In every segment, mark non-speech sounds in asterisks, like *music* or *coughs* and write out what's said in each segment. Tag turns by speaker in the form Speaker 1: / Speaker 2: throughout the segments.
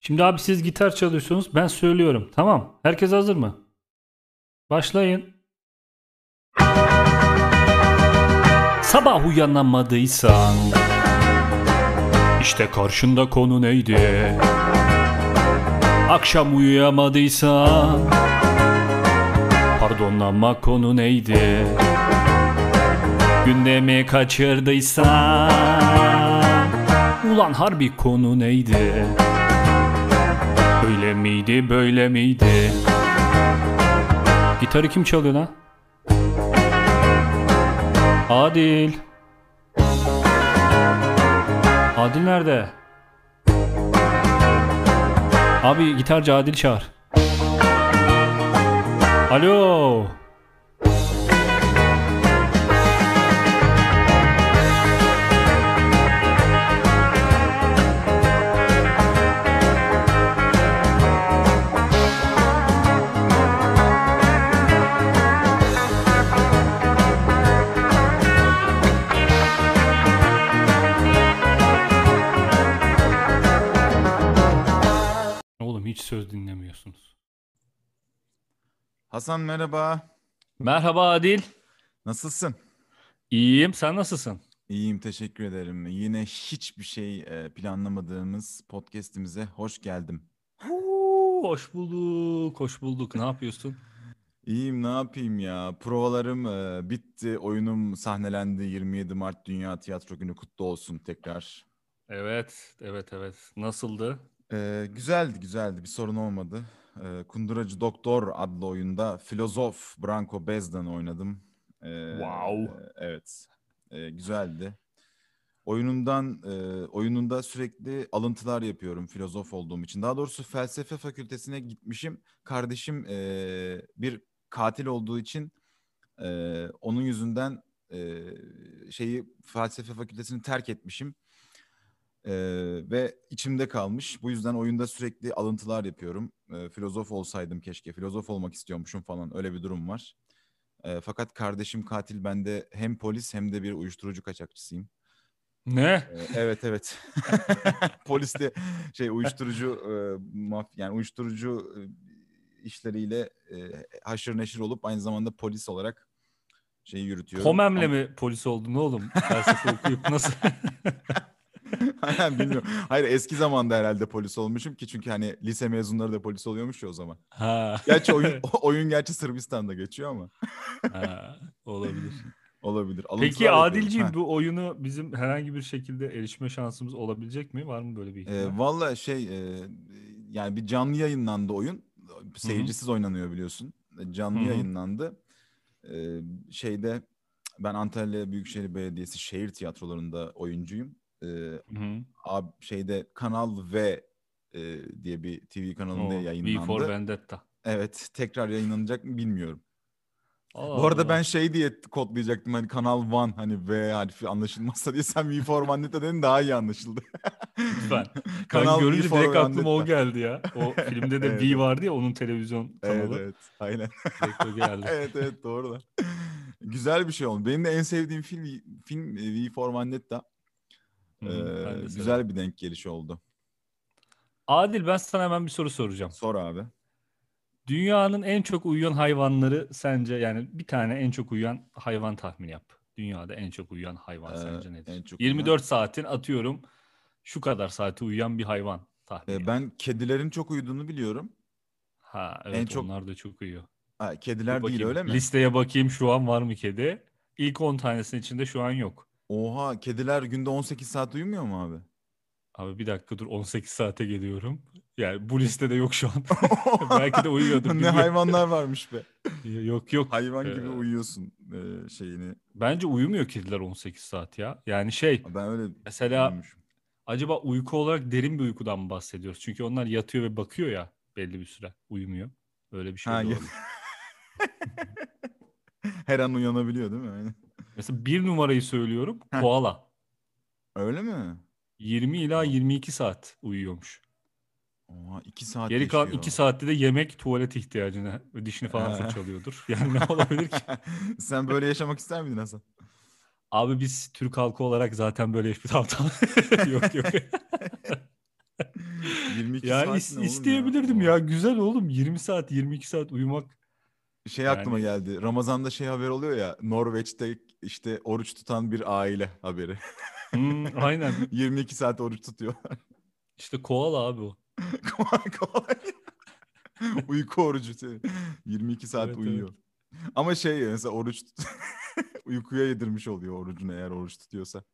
Speaker 1: Şimdi abi siz gitar çalıyorsunuz. Ben söylüyorum. Tamam. Herkes hazır mı? Başlayın. Sabah uyanamadıysan işte karşında konu neydi? Akşam uyuyamadıysan Pardon ama konu neydi? Gündemi kaçırdıysan Ulan harbi konu neydi? Öyle miydi böyle miydi? Gitarı kim çalıyor lan? Adil. Adil nerede? Abi gitarcı Adil çağır. Alo. Oğlum hiç söz dinlemiyorsunuz.
Speaker 2: Hasan merhaba.
Speaker 1: Merhaba Adil.
Speaker 2: Nasılsın?
Speaker 1: İyiyim. Sen nasılsın?
Speaker 2: İyiyim teşekkür ederim. Yine hiçbir şey e, planlamadığımız podcast'imize hoş geldim.
Speaker 1: hoş bulduk. Hoş bulduk. Ne yapıyorsun?
Speaker 2: İyiyim ne yapayım ya? Provalarım e, bitti. Oyunum sahnelendi. 27 Mart Dünya Tiyatro Günü kutlu olsun tekrar.
Speaker 1: Evet. Evet evet. Nasıldı?
Speaker 2: E, güzeldi güzeldi. Bir sorun olmadı. E, Kunduracı Doktor adlı oyunda filozof Branko Bezdan'ı oynadım. E,
Speaker 1: Wow.
Speaker 2: Evet. E, güzeldi. Oyunumdan, e, oyununda sürekli alıntılar yapıyorum filozof olduğum için. Daha doğrusu felsefe fakültesine gitmişim. Kardeşim e, bir katil olduğu için e, onun yüzünden e, şeyi felsefe fakültesini terk etmişim. E, ve içimde kalmış. Bu yüzden oyunda sürekli alıntılar yapıyorum. E, filozof olsaydım keşke, filozof olmak istiyormuşum falan öyle bir durum var. E, fakat kardeşim katil ben de hem polis hem de bir uyuşturucu kaçakçısıyım.
Speaker 1: Ne?
Speaker 2: E, evet evet. *laughs* polis de şey uyuşturucu e, maf yani uyuşturucu e, işleriyle e, haşır neşir olup aynı zamanda polis olarak şeyi yürütüyor.
Speaker 1: Pomem'le mi polis oldun oğlum? Felsefe okuyup
Speaker 2: *laughs*
Speaker 1: nasıl?
Speaker 2: Aynen bilmiyorum. Hayır eski zamanda herhalde polis olmuşum ki çünkü hani lise mezunları da polis oluyormuş ya o zaman.
Speaker 1: ha, *laughs*
Speaker 2: Gerçi oyun *laughs* oyun gerçi Sırbistan'da geçiyor ama
Speaker 1: ha, olabilir.
Speaker 2: olabilir.
Speaker 1: Peki
Speaker 2: Alıntılar yapıyorum.
Speaker 1: Adilciğim
Speaker 2: Ha.
Speaker 1: bu oyunu bizim herhangi bir şekilde erişme şansımız olabilecek mi? Var mı böyle bir ihtimal?
Speaker 2: E, valla şey e, yani bir canlı yayınlandı oyun. Seyircisiz oynanıyor biliyorsun. E, Canlı
Speaker 1: Hı hı.
Speaker 2: yayınlandı. E, şeyde ben Antalya Büyükşehir Belediyesi şehir tiyatrolarında oyuncuyum. E,
Speaker 1: Hı.
Speaker 2: ab, şeyde Kanal V e, diye bir TV kanalında
Speaker 1: O, V
Speaker 2: yayınlandı.
Speaker 1: for Vendetta.
Speaker 2: Evet tekrar yayınlanacak mı bilmiyorum.
Speaker 1: Allah
Speaker 2: Bu arada
Speaker 1: Allah.
Speaker 2: ben şey diye kodlayacaktım hani Kanal One hani V harfi anlaşılmazsa diye *laughs* sen V for Vendetta dedin daha iyi anlaşıldı. *laughs*
Speaker 1: Lütfen.
Speaker 2: Kanal
Speaker 1: Ben
Speaker 2: V
Speaker 1: görünce
Speaker 2: for
Speaker 1: direkt aklıma o
Speaker 2: Vendetta.
Speaker 1: geldi ya.
Speaker 2: *laughs*
Speaker 1: O filmde de
Speaker 2: Evet,
Speaker 1: V
Speaker 2: evet.
Speaker 1: vardı ya onun televizyon kanalı.
Speaker 2: Evet evet aynen.
Speaker 1: Direkt o geldi.
Speaker 2: *laughs* evet evet doğru da. Güzel bir şey oldu. Benim de en sevdiğim film film e, V for Vendetta.
Speaker 1: Hı,
Speaker 2: Ee,
Speaker 1: ben de severim.
Speaker 2: güzel bir denk geliş oldu.
Speaker 1: Adil ben sana hemen bir soru soracağım.
Speaker 2: Sor abi.
Speaker 1: Dünyanın en çok uyuyan hayvanları sence yani bir tane en çok uyuyan hayvan tahmin yap. Dünyada en çok uyuyan hayvan
Speaker 2: Ee,
Speaker 1: sence nedir?
Speaker 2: en çok uyuyan-
Speaker 1: 24 saatin atıyorum şu kadar saati uyuyan bir hayvan tahmin
Speaker 2: Ee,
Speaker 1: yap.
Speaker 2: ben kedilerin çok uyuduğunu biliyorum.
Speaker 1: Ha
Speaker 2: en
Speaker 1: evet
Speaker 2: çok-
Speaker 1: onlar da çok uyuyor. Dur
Speaker 2: Ha, kediler değil
Speaker 1: bakayım.
Speaker 2: öyle mi?
Speaker 1: Listeye bakayım şu an var mı kedi? İlk 10 tanesinin içinde şu an yok.
Speaker 2: Oha kediler günde 18 saat uyumuyor mu abi?
Speaker 1: Abi bir dakika dur 18 saate geliyorum. Yani bu listede yok şu
Speaker 2: *laughs*
Speaker 1: an. *laughs* Belki de uyuyordur,
Speaker 2: ne
Speaker 1: bilmiyorum.
Speaker 2: hayvanlar varmış be.
Speaker 1: yok yok.
Speaker 2: Hayvan gibi
Speaker 1: Ee,
Speaker 2: uyuyorsun e, şeyini.
Speaker 1: Bence uyumuyor kediler 18 saat ya. Yani şey
Speaker 2: Ben öyle *laughs*
Speaker 1: mesela
Speaker 2: düşünmüşüm.
Speaker 1: acaba uyku olarak derin bir uykudan mı bahsediyoruz? Çünkü onlar yatıyor ve bakıyor ya belli bir süre uyumuyor. Öyle bir şey
Speaker 2: Ha,
Speaker 1: de
Speaker 2: ya-
Speaker 1: olabilir.
Speaker 2: Her an uyanabiliyor değil mi? Aynen.
Speaker 1: Mesela bir numarayı söylüyorum.
Speaker 2: Heh.
Speaker 1: Koala.
Speaker 2: Öyle mi?
Speaker 1: 20 ila 22 saat uyuyormuş.
Speaker 2: Oha 2 saat
Speaker 1: Geri kalan
Speaker 2: yaşıyor.
Speaker 1: 2 saatte de yemek, tuvalet ihtiyacına, dişini falan
Speaker 2: Ha.
Speaker 1: fırçalıyordur. *laughs* Yani
Speaker 2: *laughs*
Speaker 1: ne olabilir ki?
Speaker 2: Sen böyle yaşamak ister
Speaker 1: *laughs*
Speaker 2: miydin Hasan?
Speaker 1: Abi *laughs*
Speaker 2: *laughs*
Speaker 1: biz Türk halkı olarak zaten böyle hiçbir Tamam, tamam. yok yok.
Speaker 2: 22
Speaker 1: ya
Speaker 2: saat
Speaker 1: is-
Speaker 2: ne oğlum
Speaker 1: isteyebilirdim ya. Güzel oğlum 20 saat 22 saat uyumak.
Speaker 2: Şey
Speaker 1: Yani-
Speaker 2: aklıma geldi. Ramazan'da şey haber oluyor ya. Norveç'te işte oruç tutan bir aile haberi. *laughs*
Speaker 1: Hmm, aynen.
Speaker 2: 22 saat oruç tutuyor. *laughs*
Speaker 1: İşte koala abi o.
Speaker 2: kolay kolay. *laughs* Uyku orucu. şey. 22 saat
Speaker 1: Evet, evet.
Speaker 2: uyuyor. Ama şey mesela oruç tut- *laughs* uykuya yedirmiş oluyor orucunu eğer oruç tutuyorsa.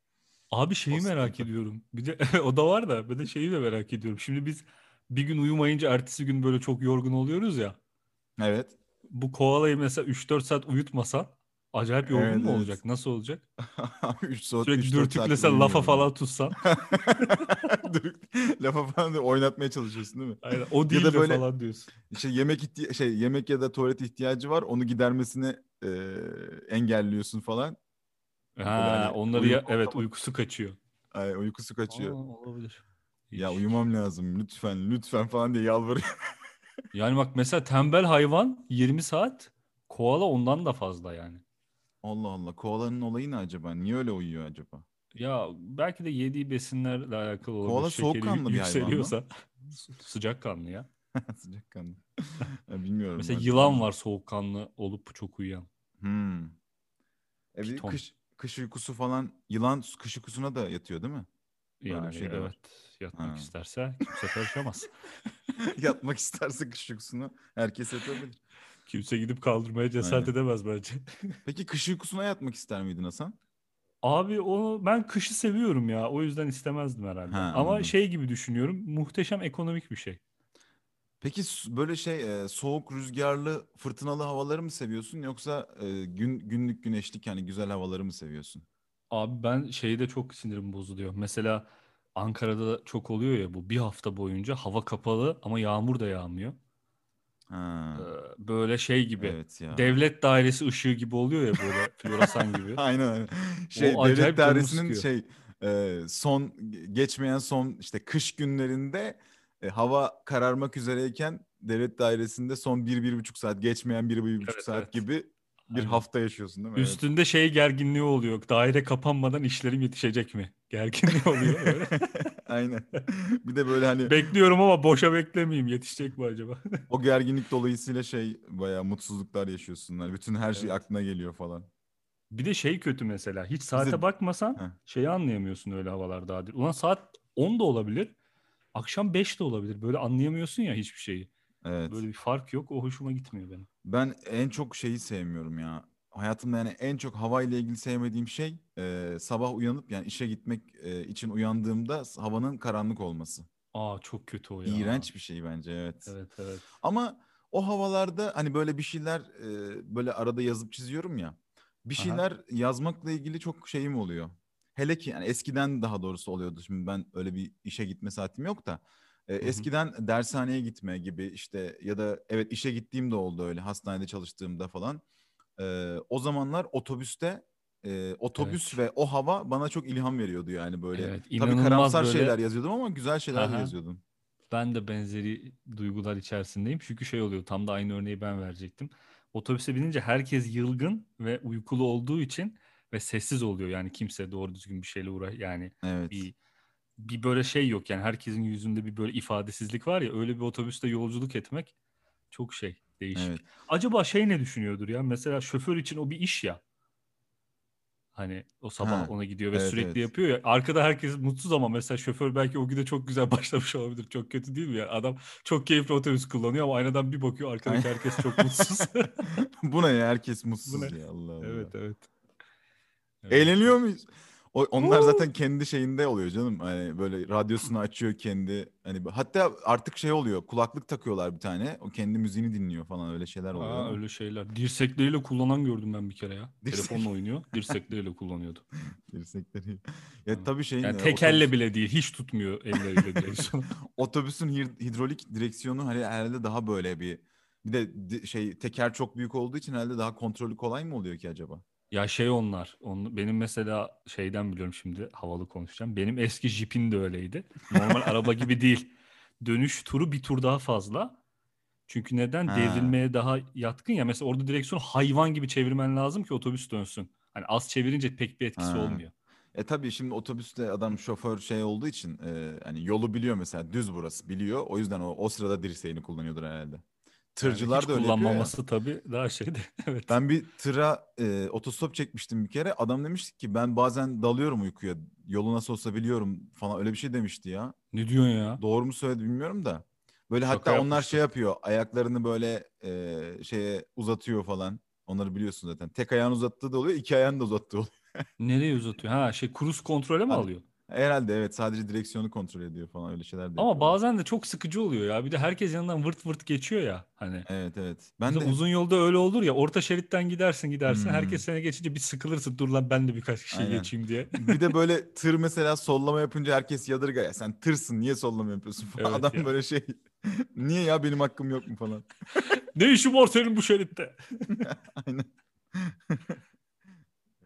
Speaker 1: Abi şeyi
Speaker 2: O
Speaker 1: merak
Speaker 2: sıkıntı.
Speaker 1: ediyorum. Bir de *laughs* o da var da bir de şeyi de merak ediyorum. Şimdi biz bir gün uyumayınca ertesi gün böyle çok yorgun oluyoruz ya.
Speaker 2: Evet. *laughs*
Speaker 1: Bu koalayı mesela 3-4 saat uyutmasa acayip yorgun
Speaker 2: Evet,
Speaker 1: mu
Speaker 2: evet.
Speaker 1: olacak? Nasıl olacak?
Speaker 2: 3 saat
Speaker 1: Sürekli
Speaker 2: üç, dört saat
Speaker 1: dürtüklesen lafa
Speaker 2: uyumuyor
Speaker 1: falan tutsan.
Speaker 2: yani. *laughs* Dürtük- Lafa falan da oynatmaya çalışıyorsun değil mi?
Speaker 1: Aynen, o
Speaker 2: da
Speaker 1: değil de
Speaker 2: böyle-
Speaker 1: falan diyorsun.
Speaker 2: İşte yemek ihti- şey yemek ya da tuvalet ihtiyacı var. Onu gidermesini e, engelliyorsun falan.
Speaker 1: Ha,
Speaker 2: yani
Speaker 1: onları ya,
Speaker 2: uyku-
Speaker 1: evet uykusu kaçıyor.
Speaker 2: Ay, uykusu kaçıyor.
Speaker 1: Aa, olabilir.
Speaker 2: Ya
Speaker 1: İş.
Speaker 2: uyumam lazım lütfen lütfen falan diye yalvarıyor. *laughs*
Speaker 1: Yani bak mesela tembel hayvan 20 saat, koala ondan da fazla yani.
Speaker 2: Allah Allah koalanın olayı ne acaba? Niye öyle uyuyor acaba? *laughs*
Speaker 1: Ya belki de yediği besinlerle alakalı olabilir.
Speaker 2: Koala
Speaker 1: Şekeri
Speaker 2: soğukkanlı bir hayvan mı?
Speaker 1: yükseliyorsa. Sı- Sıcakkanlı ya. *laughs*
Speaker 2: Sıcakkanlı. Ya bilmiyorum.
Speaker 1: Mesela
Speaker 2: ben.
Speaker 1: yılan var soğukkanlı olup çok uyuyan.
Speaker 2: Hmm. E bir
Speaker 1: Piton.
Speaker 2: kış, kış uykusu falan yılan kış uykusuna da yatıyor değil mi? Öyle bir
Speaker 1: Yani
Speaker 2: şey de var.
Speaker 1: evet yatmak
Speaker 2: Ha.
Speaker 1: isterse kimse
Speaker 2: *laughs*
Speaker 1: karışamaz.
Speaker 2: Yatmak isterse kış uykusuna herkes yatabilir.
Speaker 1: kimse gidip kaldırmaya cesaret
Speaker 2: Aynen.
Speaker 1: edemez bence.
Speaker 2: Peki kış uykusuna yatmak ister miydin Hasan?
Speaker 1: Abi o ben kışı seviyorum ya. O yüzden istemezdim herhalde.
Speaker 2: Ha,
Speaker 1: Ama
Speaker 2: anladım.
Speaker 1: şey gibi düşünüyorum. Muhteşem ekonomik bir şey.
Speaker 2: Peki s- böyle şey e, soğuk, rüzgarlı, fırtınalı havaları mı seviyorsun yoksa e, gün günlük güneşlik yani güzel havaları mı seviyorsun?
Speaker 1: Abi ben şeyde çok sinirim bozuluyor. Mesela Ankara'da da çok oluyor ya bu bir hafta boyunca hava kapalı ama yağmur da yağmıyor.
Speaker 2: Ha.
Speaker 1: Ee, Böyle şey gibi.
Speaker 2: Evet ya.
Speaker 1: Devlet dairesi ışığı gibi oluyor ya böyle floresan gibi.
Speaker 2: *laughs* Aynen aynen. Şey devlet
Speaker 1: acayip canımı
Speaker 2: dairesinin
Speaker 1: sıkıyor.
Speaker 2: şey e, son geçmeyen son işte kış günlerinde e, hava kararmak üzereyken devlet dairesinde son bir bir buçuk saat geçmeyen bir bir buçuk
Speaker 1: Evet,
Speaker 2: saat
Speaker 1: evet.
Speaker 2: gibi bir
Speaker 1: Aynen.
Speaker 2: hafta yaşıyorsun değil mi? Evet.
Speaker 1: Hani Üstünde şey gerginliği oluyor. Daire kapanmadan işlerim yetişecek mi? *laughs* Gerginliği oluyor
Speaker 2: *laughs*
Speaker 1: böyle. *laughs*
Speaker 2: Aynen. Bir de böyle hani
Speaker 1: Bekliyorum ama boşa beklemeyeyim. Yetişecek mi acaba? *laughs*
Speaker 2: o gerginlik dolayısıyla şey bayağı mutsuzluklar yaşıyorsunlar. Bütün her şey
Speaker 1: Evet.
Speaker 2: aklına geliyor falan.
Speaker 1: Bir de şey kötü mesela. Hiç saate bakmasan
Speaker 2: Heh.
Speaker 1: şeyi anlayamıyorsun öyle havalarda Adil. Ulan saat 10 da olabilir. Akşam 5 de olabilir. Böyle anlayamıyorsun ya hiçbir şeyi.
Speaker 2: Evet.
Speaker 1: Böyle bir fark yok. O hoşuma gitmiyor benim.
Speaker 2: Ben en çok şeyi sevmiyorum ya. Hayatımda yani en çok havayla ilgili sevmediğim şey e, sabah uyanıp yani işe gitmek e, için uyandığımda s- havanın karanlık olması.
Speaker 1: Aa çok kötü o ya.
Speaker 2: İğrenç bir şey bence evet.
Speaker 1: Evet evet.
Speaker 2: Ama o havalarda hani böyle bir şeyler e, böyle arada yazıp çiziyorum ya. Bir
Speaker 1: Aha.
Speaker 2: şeyler yazmakla ilgili çok şeyim oluyor. Hele ki yani eskiden daha doğrusu oluyordu. Şimdi ben öyle bir işe gitme saatim yok da. E,
Speaker 1: hı.
Speaker 2: eskiden dershaneye gitme gibi işte ya da evet işe gittiğim de oldu öyle hastanede çalıştığımda falan. E, o zamanlar otobüste e, otobüs ve o hava bana çok ilham veriyordu yani böyle.
Speaker 1: Evet,
Speaker 2: Tabii
Speaker 1: inanılmaz
Speaker 2: karamsar
Speaker 1: böyle-
Speaker 2: şeyler yazıyordum ama güzel şeyler de
Speaker 1: Aha.
Speaker 2: yazıyordum.
Speaker 1: Ben de benzeri duygular içerisindeyim. Çünkü şey oluyor tam da aynı örneği ben verecektim. Otobüse binince herkes yılgın ve uykulu olduğu için ve sessiz oluyor. Yani kimse doğru düzgün bir şeyle uğraş yani
Speaker 2: Evet.
Speaker 1: bir bir böyle şey yok yani herkesin yüzünde bir böyle ifadesizlik var ya öyle bir otobüste yolculuk etmek çok şey değişik.
Speaker 2: Evet.
Speaker 1: Acaba şey ne düşünüyordur ya? Mesela şoför için o bir iş ya. Hani o sabah
Speaker 2: Ha,
Speaker 1: ona gidiyor ve
Speaker 2: evet,
Speaker 1: sürekli
Speaker 2: evet.
Speaker 1: yapıyor ya. Arkada herkes mutsuz ama mesela şoför belki o güne çok güzel *laughs* başlamış olabilir. Çok kötü değil mi ya? Adam çok keyifli otobüs kullanıyor ama aynadan bir bakıyor arkadaki
Speaker 2: Aynen.
Speaker 1: herkes çok
Speaker 2: *laughs*
Speaker 1: mutsuz.
Speaker 2: Bu ne ya herkes mutsuz
Speaker 1: ne?
Speaker 2: ya Allah Allah.
Speaker 1: evet, evet. Evet.
Speaker 2: Eğleniyor muyuz? O- onlar
Speaker 1: Woo!
Speaker 2: zaten kendi şeyinde oluyor canım. Hani böyle radyosunu açıyor kendi. Hani bu- hatta artık şey oluyor. Kulaklık takıyorlar bir tane. O kendi müziğini dinliyor falan öyle şeyler oluyor.
Speaker 1: Aa,
Speaker 2: değil mi?
Speaker 1: öyle şeyler. Dirsekleriyle kullanan gördüm ben bir kere ya.
Speaker 2: Dirsek-
Speaker 1: Telefonla oynuyor. Dirsekleriyle
Speaker 2: *laughs*
Speaker 1: kullanıyordu.
Speaker 2: Dirsekleri.
Speaker 1: Ha.
Speaker 2: ya tabii şeyin
Speaker 1: Yani
Speaker 2: e,
Speaker 1: tek elle
Speaker 2: otobüs-
Speaker 1: bile değil. Hiç tutmuyor elleriyle
Speaker 2: *laughs*
Speaker 1: direksiyonu.
Speaker 2: otobüsün hid- hidrolik direksiyonu hani herhalde daha böyle bir bir de di- şey teker çok büyük olduğu için herhalde daha kontrolü kolay mı oluyor ki acaba?
Speaker 1: Ya şey onlar. Onu, benim mesela şeyden biliyorum şimdi havalı konuşacağım. Benim eski jipim de öyleydi.
Speaker 2: *laughs*
Speaker 1: Normal araba gibi değil. Dönüş turu bir tur daha fazla. Çünkü neden?
Speaker 2: Ha.
Speaker 1: Devrilmeye daha yatkın ya. Mesela orada direksiyonu hayvan gibi çevirmen lazım ki otobüs dönsün. Hani az çevirince pek bir etkisi
Speaker 2: Ha.
Speaker 1: olmuyor.
Speaker 2: E tabii şimdi otobüste adam şoför şey olduğu için e, hani yolu biliyor mesela düz burası biliyor. O yüzden o, o sırada dirseğini kullanıyordur herhalde. Tırcılar
Speaker 1: hiç
Speaker 2: da öyle yapıyor ya.
Speaker 1: kullanmaması tabii daha şeydi. *laughs* evet.
Speaker 2: Ben bir tıra e, otostop çekmiştim bir kere. Adam demişti ki ben bazen dalıyorum uykuya. Yolu nasıl olsa biliyorum falan öyle bir şey demişti ya.
Speaker 1: Ne diyorsun ya?
Speaker 2: Doğru mu söyledi bilmiyorum da. Böyle
Speaker 1: Şaka
Speaker 2: hatta onlar
Speaker 1: yapmıştı.
Speaker 2: şey yapıyor. Ayaklarını böyle e, şeye uzatıyor falan. Onları biliyorsun zaten. Tek ayağını uzattığı da oluyor, iki ayağını da uzattığı oluyor.
Speaker 1: Nereye uzatıyor? Ha şey cruise kontrole mi
Speaker 2: Abi,
Speaker 1: alıyor?
Speaker 2: Herhalde evet sadece direksiyonu kontrol ediyor falan öyle şeyler de
Speaker 1: Ama
Speaker 2: yapıyorlar.
Speaker 1: bazen de çok sıkıcı oluyor ya. Bir de herkes yanından vırt vırt geçiyor ya hani.
Speaker 2: Evet evet. Ben de
Speaker 1: Bir de uzun yolda öyle olur ya. Orta şeritten gidersin gidersin.
Speaker 2: Hmm.
Speaker 1: Herkes seni geçince bir sıkılırsın. Dur lan ben de birkaç kişiyi
Speaker 2: Aynen.
Speaker 1: geçeyim diye. *laughs*
Speaker 2: *laughs* bir de *laughs* böyle tır mesela sollama yapınca herkes yadırga ya sen tırsın niye sollama yapıyorsun falan.
Speaker 1: Evet
Speaker 2: Adam
Speaker 1: ya.
Speaker 2: böyle şey *laughs* niye ya benim hakkım yok mu falan.
Speaker 1: ne işin var senin bu şeritte?
Speaker 2: Aynen.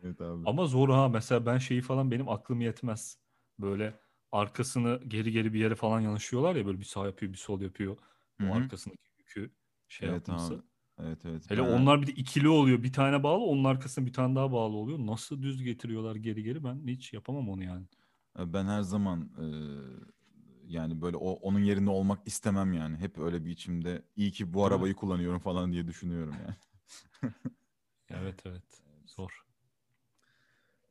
Speaker 2: evet abi.
Speaker 1: Ama zor ha. Mesela ben şeyi falan benim aklım yetmez. Böyle arkasını geri geri bir yere falan yanaşıyorlar ya. Böyle bir sağ yapıyor bir sol yapıyor.
Speaker 2: Hı hı.
Speaker 1: O arkasındaki yükü şey
Speaker 2: Evet
Speaker 1: yapması.
Speaker 2: abi. Evet evet.
Speaker 1: Hele
Speaker 2: Ben-
Speaker 1: onlar bir de ikili oluyor. Bir tane bağlı, onun arkasına bir tane daha bağlı oluyor. Nasıl düz getiriyorlar geri geri ben hiç yapamam onu yani.
Speaker 2: Ben her zaman e, yani böyle o, onun yerinde olmak istemem yani. Hep öyle bir içimde iyi ki bu
Speaker 1: mi?
Speaker 2: arabayı kullanıyorum falan diye düşünüyorum yani.
Speaker 1: Evet evet. Zor.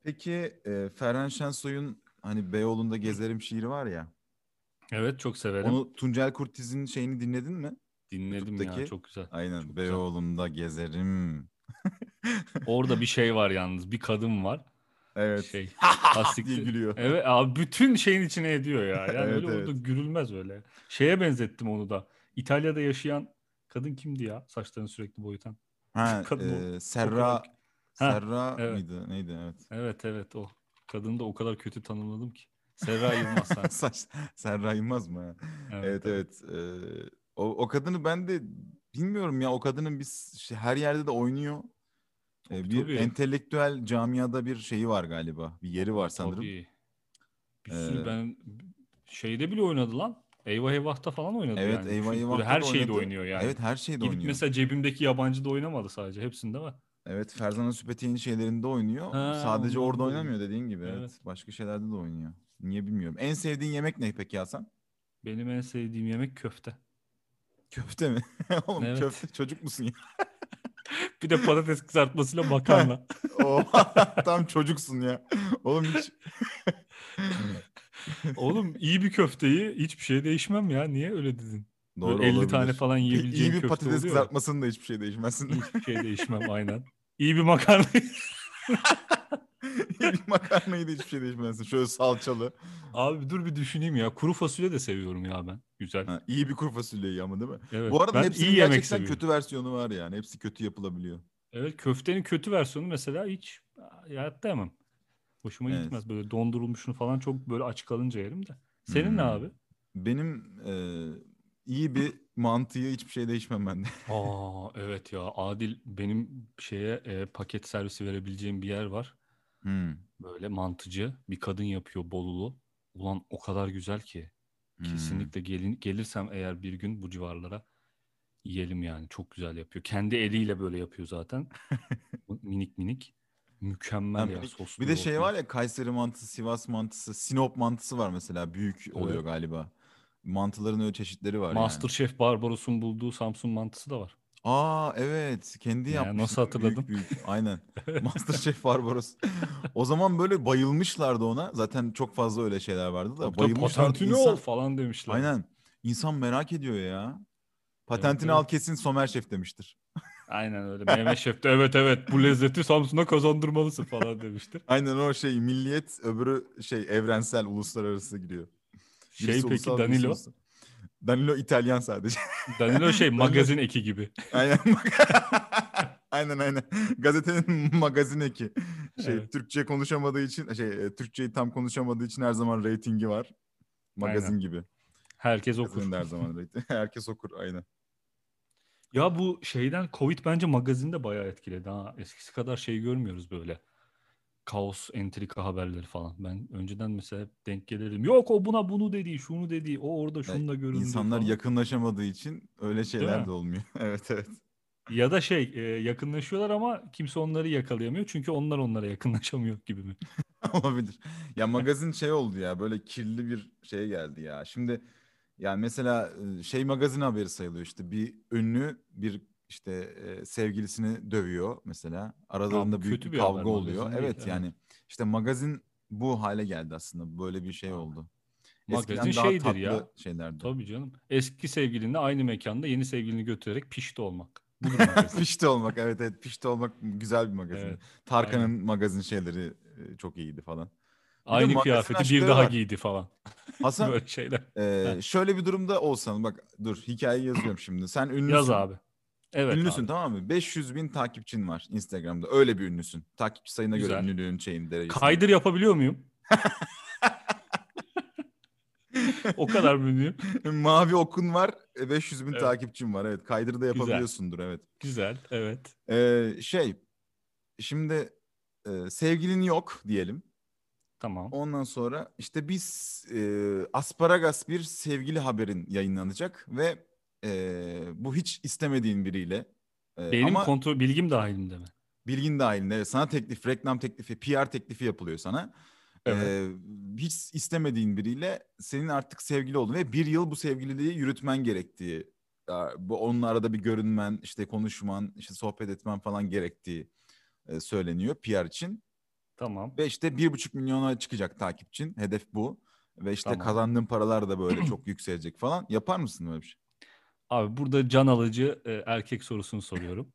Speaker 2: Peki e, Ferhan Şensoy'un hani Beyoğlu'nda gezerim şiiri var ya.
Speaker 1: Evet çok severim.
Speaker 2: Onu Tuncel Kurtiz'in şeyini dinledin mi?
Speaker 1: Dinledim ya
Speaker 2: YouTube'daki-
Speaker 1: çok güzel.
Speaker 2: Aynen
Speaker 1: Çok güzel.
Speaker 2: Beyoğlu'nda gezerim.
Speaker 1: Orada bir şey var yalnız. Bir kadın var.
Speaker 2: Evet.
Speaker 1: Şey.
Speaker 2: *laughs* diye
Speaker 1: Plastik.
Speaker 2: gülüyor.
Speaker 1: Evet abi bütün şeyin içine ediyor ya. Yani
Speaker 2: Evet,
Speaker 1: öyle orada
Speaker 2: evet.
Speaker 1: gülülmez öyle. Şeye benzettim onu da. İtalya'da yaşayan kadın kimdi ya? Saçlarını sürekli boyutan.
Speaker 2: Ha,
Speaker 1: *laughs* Kadın o-
Speaker 2: e, Serra
Speaker 1: kadar- Ha,
Speaker 2: Serra
Speaker 1: evet.
Speaker 2: mıydı? Neydi? Evet. *laughs*
Speaker 1: Evet evet o. Kadını da o kadar kötü tanımladım ki. Serra Yılmaz
Speaker 2: *laughs*
Speaker 1: ha.
Speaker 2: Saç Serra Yılmaz mı? ha? Evet evet. Ee, o, o kadını ben de bilmiyorum ya o kadının biz şey- her yerde de oynuyor. Ee,
Speaker 1: Tabii,
Speaker 2: bir
Speaker 1: tabii.
Speaker 2: entelektüel camiada bir şeyi var galiba. Bir yeri var sanırım.
Speaker 1: Tabii. Bir sürü
Speaker 2: Ee,
Speaker 1: ben şeyde bile oynadı lan. Eyvah Eyvah'ta falan oynadı
Speaker 2: Evet
Speaker 1: yani. Düşün,
Speaker 2: Eyvah
Speaker 1: böyle
Speaker 2: Eyvah'ta
Speaker 1: her
Speaker 2: da
Speaker 1: şeyde
Speaker 2: oynadı.
Speaker 1: oynuyor yani.
Speaker 2: Evet her şeyde
Speaker 1: Gidip
Speaker 2: oynuyor.
Speaker 1: mesela cebimdeki yabancı da oynamadı sadece. Hepsinde var.
Speaker 2: Evet Ferzana Süpetek'in şeylerinde oynuyor.
Speaker 1: Ha,
Speaker 2: Sadece
Speaker 1: onlarda
Speaker 2: orada
Speaker 1: da oynuyor.
Speaker 2: oynamıyor dediğin gibi. Evet.
Speaker 1: Evet.
Speaker 2: Başka şeylerde de oynuyor. Niye bilmiyorum. En sevdiğin yemek ne peki Hasan?
Speaker 1: Benim en sevdiğim yemek köfte.
Speaker 2: Köfte mi? *laughs* Oğlum
Speaker 1: Evet.
Speaker 2: köfte çocuk
Speaker 1: *laughs*
Speaker 2: musun ya?
Speaker 1: *laughs* Bir de patates kızartmasıyla makarna.
Speaker 2: Oha, *laughs* tam çocuksun ya. Oğlum hiç
Speaker 1: *laughs* Oğlum iyi bir köfteyi hiçbir şey değişmem ya. Niye öyle dedin?
Speaker 2: doğru
Speaker 1: Böyle 50
Speaker 2: olabilir.
Speaker 1: tane falan
Speaker 2: İyi-
Speaker 1: yiyebileceğin
Speaker 2: İyi bir
Speaker 1: köfte
Speaker 2: patates
Speaker 1: oluyor ya.
Speaker 2: kızartmasının da hiçbir şey
Speaker 1: *laughs*
Speaker 2: değişmezsin.
Speaker 1: Hiçbir şey değişmem aynen. İyi bir makarna. *laughs*
Speaker 2: İyi bir makarnayı da hiçbir şey değişmezsin. Şöyle salçalı.
Speaker 1: Abi dur bir düşüneyim ya. Kuru fasulye de seviyorum ya ben. Güzel.
Speaker 2: Ha, iyi bir kuru fasulyeyi ama değil mi?
Speaker 1: Evet.
Speaker 2: Bu arada
Speaker 1: ben
Speaker 2: hepsinin
Speaker 1: iyi yemek
Speaker 2: gerçekten
Speaker 1: seviyorum.
Speaker 2: kötü versiyonu var yani. Hepsi kötü yapılabiliyor.
Speaker 1: Evet köftenin kötü versiyonu mesela hiç hayatta yemem. Hoşuma
Speaker 2: Evet.
Speaker 1: gitmez. Böyle dondurulmuşunu falan çok böyle aç kalınca yerim de. Senin ne
Speaker 2: Hmm.
Speaker 1: abi?
Speaker 2: Benim e, iyi bir mantıya hiçbir şey değişmem ben de.
Speaker 1: Aa evet ya Adil benim şeye e, paket servisi verebileceğim bir yer var.
Speaker 2: Hmm,
Speaker 1: Böyle mantıcı bir kadın yapıyor Bolulu. Ulan o kadar güzel ki.
Speaker 2: hmm.
Speaker 1: Kesinlikle gelin, gelirsem eğer bir gün bu civarlara yiyelim yani. Çok güzel yapıyor. Kendi eliyle böyle yapıyor
Speaker 2: *laughs*
Speaker 1: zaten. Bu Minik minik. Mükemmel
Speaker 2: Ha,
Speaker 1: ya
Speaker 2: bir,
Speaker 1: soslu
Speaker 2: bir de şey
Speaker 1: yoğurtlu.
Speaker 2: var ya Kayseri mantısı, Sivas mantısı, Sinop mantısı var mesela. Büyük oluyor
Speaker 1: Evet.
Speaker 2: galiba. Mantıların öyle çeşitleri var yani.
Speaker 1: Masterchef Barbaros'un bulduğu Samsun mantısı da var.
Speaker 2: Aa evet kendi
Speaker 1: Ya,
Speaker 2: yapmış
Speaker 1: nasıl
Speaker 2: değil mi? Büyük
Speaker 1: hatırladım?
Speaker 2: büyük
Speaker 1: *laughs*
Speaker 2: aynen. MasterChef Barbaros. O zaman böyle bayılmışlardı ona. Zaten çok fazla öyle şeyler vardı da
Speaker 1: Tabii tabii
Speaker 2: bayılmışlardı
Speaker 1: patentini
Speaker 2: insan.
Speaker 1: ol falan demişler.
Speaker 2: Aynen. İnsan merak ediyor ya. Patentini
Speaker 1: evet.
Speaker 2: al kesin Somer Şef demiştir.
Speaker 1: Aynen öyle. Mehmet Şef de evet evet bu lezzeti Samsun'a kazandırmalısın falan demiştir.
Speaker 2: Aynen o şey milliyet öbürü şey evrensel uluslararası giriyor.
Speaker 1: Şey
Speaker 2: Birisi
Speaker 1: peki
Speaker 2: ulusal, birisi
Speaker 1: Danilo.
Speaker 2: ulusal. Danilo İtalyan sadece.
Speaker 1: Danilo şey magazin eki gibi.
Speaker 2: Aynen. *laughs* aynen aynen. Gazetenin *laughs* magazin eki. Şey
Speaker 1: Evet.
Speaker 2: Türkçe konuşamadığı için şey e, Türkçeyi tam konuşamadığı için her zaman reytingi var. Magazin
Speaker 1: Aynen.
Speaker 2: gibi.
Speaker 1: Herkes
Speaker 2: Magazin
Speaker 1: okur.
Speaker 2: de her zaman reyting. *laughs* Herkes okur aynen.
Speaker 1: Ya bu şeyden Covid bence magazini de bayağı etkiledi ha. Eskisi kadar şey görmüyoruz böyle. Kaos, entrika haberleri falan. Ben önceden mesela hep denk gelirdim. Yok o buna bunu dedi, şunu dedi, o orada
Speaker 2: Yani
Speaker 1: şununla göründü
Speaker 2: insanlar
Speaker 1: falan.
Speaker 2: yakınlaşamadığı için öyle
Speaker 1: mi?
Speaker 2: şeyler de olmuyor. *laughs* evet evet.
Speaker 1: Ya da şey e, yakınlaşıyorlar ama kimse onları yakalayamıyor. Çünkü onlar onlara yakınlaşamıyor gibi mi?
Speaker 2: *laughs* Olabilir. Ya magazin şey oldu ya böyle kirli bir şeye geldi ya. Şimdi yani mesela e, şey magazin haberi sayılıyor işte bir ünlü bir işte e, sevgilisini dövüyor mesela. Aralarında
Speaker 1: bu
Speaker 2: büyük
Speaker 1: kötü
Speaker 2: bir
Speaker 1: bir
Speaker 2: kavga
Speaker 1: haber,
Speaker 2: oluyor.
Speaker 1: magazin değil,
Speaker 2: evet
Speaker 1: evet.
Speaker 2: yani işte magazin bu hale geldi aslında. Böyle bir şey
Speaker 1: Aynen.
Speaker 2: oldu.
Speaker 1: Magazin
Speaker 2: Eskiden daha
Speaker 1: şeydir
Speaker 2: tatlı
Speaker 1: ya.
Speaker 2: şeylerdi.
Speaker 1: Tabii canım. Eski sevgilinle aynı mekanda yeni sevgilini götürerek pişti olmak.
Speaker 2: *laughs*
Speaker 1: Budur magazin.
Speaker 2: Pişti olmak evet evet pişti olmak güzel bir magazin.
Speaker 1: Evet,
Speaker 2: Tarkan'ın magazin şeyleri e, çok
Speaker 1: *laughs*
Speaker 2: iyiydi falan.
Speaker 1: aynı
Speaker 2: magazin
Speaker 1: kıyafeti bir
Speaker 2: aşkları
Speaker 1: daha
Speaker 2: var.
Speaker 1: giydi
Speaker 2: *laughs*
Speaker 1: falan.
Speaker 2: Hasan
Speaker 1: Böyle şeyler.
Speaker 2: Ee, şöyle bir durumda olsan bak dur hikayeyi yazıyorum şimdi. Sen ünlüsün.
Speaker 1: *clears throat* Yaz abi. Evet
Speaker 2: ünlüsün
Speaker 1: abi.
Speaker 2: tamam mı? 500 bin takipçin var Instagram'da. Öyle bir ünlüsün. Takipçi sayına
Speaker 1: Güzel.
Speaker 2: göre ünlülüğün şeyin derecesi.
Speaker 1: Kaydır yapabiliyor muyum? *laughs* o kadar mümkün.
Speaker 2: *laughs* Mavi okun var. e, 500 bin
Speaker 1: Evet.
Speaker 2: takipçin var. Evet kaydırı da
Speaker 1: Güzel.
Speaker 2: yapabiliyorsundur evet.
Speaker 1: Güzel. Evet.
Speaker 2: Ee, şey şimdi e, sevgilin yok diyelim.
Speaker 1: Tamam.
Speaker 2: Ondan sonra işte biz e, asparagas bir sevgili haberin yayınlanacak ve e, bu hiç istemediğin biriyle. e,
Speaker 1: Benim
Speaker 2: ama-
Speaker 1: kontrol bilgim dahilimde mi?
Speaker 2: bilgin dahilinde evet, sana teklif, reklam teklifi, PR teklifi yapılıyor sana.
Speaker 1: Evet.
Speaker 2: Ee, hiç istemediğin biriyle senin artık sevgili oldun ve bir yıl bu sevgililiği yürütmen gerektiği, ya bu onunla arada bir görünmen, işte konuşman, işte sohbet etmen falan gerektiği e, söyleniyor PR için.
Speaker 1: Tamam.
Speaker 2: Ve işte bir buçuk milyona çıkacak takipçin, hedef bu. Ve işte
Speaker 1: Tamam.
Speaker 2: kazandığın paralar
Speaker 1: *clears throat*
Speaker 2: da böyle çok yükselecek falan. Yapar mısın böyle bir şey? *laughs*
Speaker 1: Abi burada can alıcı e, erkek sorusunu
Speaker 2: *laughs*
Speaker 1: soruyorum.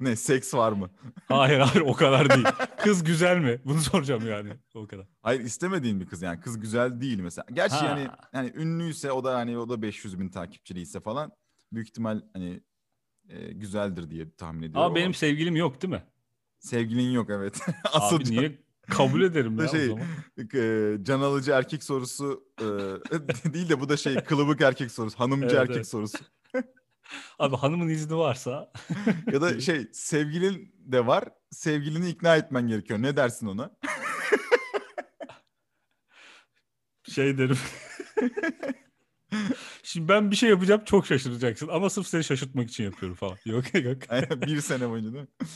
Speaker 2: ne, seks var mı?
Speaker 1: Hayır hayır o kadar değil. Kız güzel mi? Bunu soracağım yani. O kadar.
Speaker 2: Hayır istemediğin bir kız yani kız güzel değil mesela. Gerçi
Speaker 1: Ha.
Speaker 2: yani yani ünlüyse o da hani o da 500 bin takipçiliyse falan büyük ihtimal hani e, güzeldir diye tahmin ediyorum.
Speaker 1: Ama benim
Speaker 2: ama
Speaker 1: sevgilim yok değil mi?
Speaker 2: sevgilin yok evet. *laughs* Asıl
Speaker 1: Abi niye kabul ederim ya
Speaker 2: Şey,
Speaker 1: o zaman?
Speaker 2: e, can alıcı erkek sorusu e, *laughs* değil de bu da şey kılıbık erkek sorusu, hanımcı
Speaker 1: Evet,
Speaker 2: erkek
Speaker 1: evet.
Speaker 2: sorusu.
Speaker 1: Abi hanımın izni varsa
Speaker 2: Ya
Speaker 1: *laughs*
Speaker 2: da şey sevgilin de var. Sevgilini ikna etmen gerekiyor. Ne dersin ona? *laughs*
Speaker 1: şey
Speaker 2: *laughs*
Speaker 1: derim. Şimdi ben bir şey yapacağım çok şaşıracaksın ama sırf seni şaşırtmak için yapıyorum falan. Yok yok.
Speaker 2: Aynen, bir sene boyunca değil mi?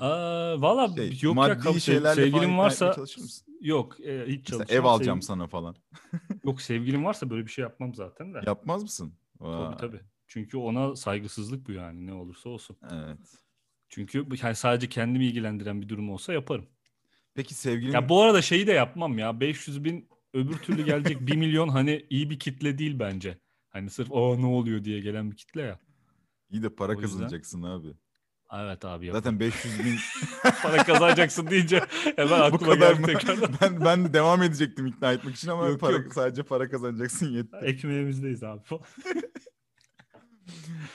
Speaker 1: Aa, valla
Speaker 2: Şey,
Speaker 1: yok ya
Speaker 2: maddi
Speaker 1: kabul
Speaker 2: şeylerle falan
Speaker 1: sevgilim
Speaker 2: ikna etmeye
Speaker 1: varsa
Speaker 2: çalışır mısın?
Speaker 1: yok e, hiç
Speaker 2: Mesela
Speaker 1: çalışmam.
Speaker 2: ev alacağım
Speaker 1: Sevgi-
Speaker 2: sana falan.
Speaker 1: Yok sevgilim varsa böyle bir şey yapmam zaten de.
Speaker 2: Yapmaz mısın? Vay.
Speaker 1: Tabii tabii. Çünkü ona saygısızlık bu yani ne olursa olsun.
Speaker 2: Evet.
Speaker 1: Çünkü bu- yani sadece kendimi ilgilendiren bir durum olsa yaparım.
Speaker 2: Peki sevgilin
Speaker 1: Ya bu arada şeyi de yapmam ya. 500 bin öbür türlü gelecek 1 milyon hani iyi bir kitle değil bence. Hani sırf o ne oluyor diye gelen bir kitle ya.
Speaker 2: iyi de para
Speaker 1: O yüzden-
Speaker 2: kazanacaksın abi.
Speaker 1: Evet abi yap.
Speaker 2: Zaten 500 bin *laughs*
Speaker 1: Para kazanacaksın deyince hemen
Speaker 2: bu
Speaker 1: aklıma
Speaker 2: kadar
Speaker 1: geldi
Speaker 2: mı? *laughs*
Speaker 1: tekrardan.
Speaker 2: ben ben de devam edecektim ikna etmek için ama
Speaker 1: Yok,
Speaker 2: para
Speaker 1: yok.
Speaker 2: sadece para kazanacaksın yetti.
Speaker 1: Ekmeğimizdeyiz abi.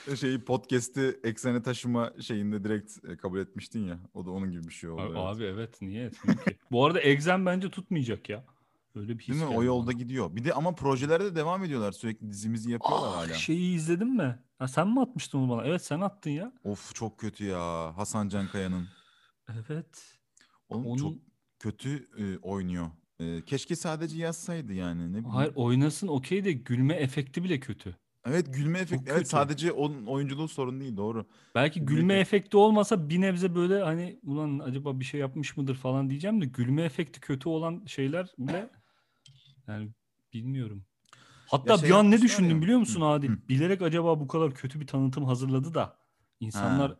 Speaker 2: Şeyi şey, podcast'i eksene taşıma şeyinde direkt e, kabul etmiştin ya. O da onun gibi bir şey oldu.
Speaker 1: Abi,
Speaker 2: *laughs* evet.
Speaker 1: abi evet niye etmiyor ki? Bu arada egzem bence tutmayacak ya. Öyle bir his
Speaker 2: Değil mi?
Speaker 1: geldi
Speaker 2: O
Speaker 1: bana.
Speaker 2: yolda gidiyor. Bir de ama projelerde de devam ediyorlar. Sürekli dizimizi yapıyorlar
Speaker 1: Ah,
Speaker 2: hala.
Speaker 1: şeyi izledin mi? Ha, sen mi atmıştın onu bana? Evet sen attın ya.
Speaker 2: Of çok kötü ya. Hasan Can Kaya'nın.
Speaker 1: Evet.
Speaker 2: Oğlum
Speaker 1: Onun...
Speaker 2: çok kötü e, oynuyor. E, keşke sadece yazsaydı yani. Ne bileyim.
Speaker 1: Hayır oynasın okey de gülme efekti bile kötü.
Speaker 2: Evet gülme efekti. Evet
Speaker 1: kötü.
Speaker 2: sadece onun oyunculuğu sorun değil doğru.
Speaker 1: Belki
Speaker 2: Gülme
Speaker 1: gülme
Speaker 2: efekti.
Speaker 1: efekti olmasa bir nebze böyle hani ulan acaba bir şey yapmış mıdır falan diyeceğim de gülme efekti kötü olan şeyler
Speaker 2: *laughs*
Speaker 1: bile yani bilmiyorum. Hatta
Speaker 2: şey
Speaker 1: bir an ne
Speaker 2: yapmışlar
Speaker 1: düşündüm
Speaker 2: ya.
Speaker 1: biliyor musun
Speaker 2: Hı,
Speaker 1: Adil?
Speaker 2: hı.
Speaker 1: Bilerek acaba bu kadar kötü bir tanıtım hazırladı da insanlar
Speaker 2: Ha.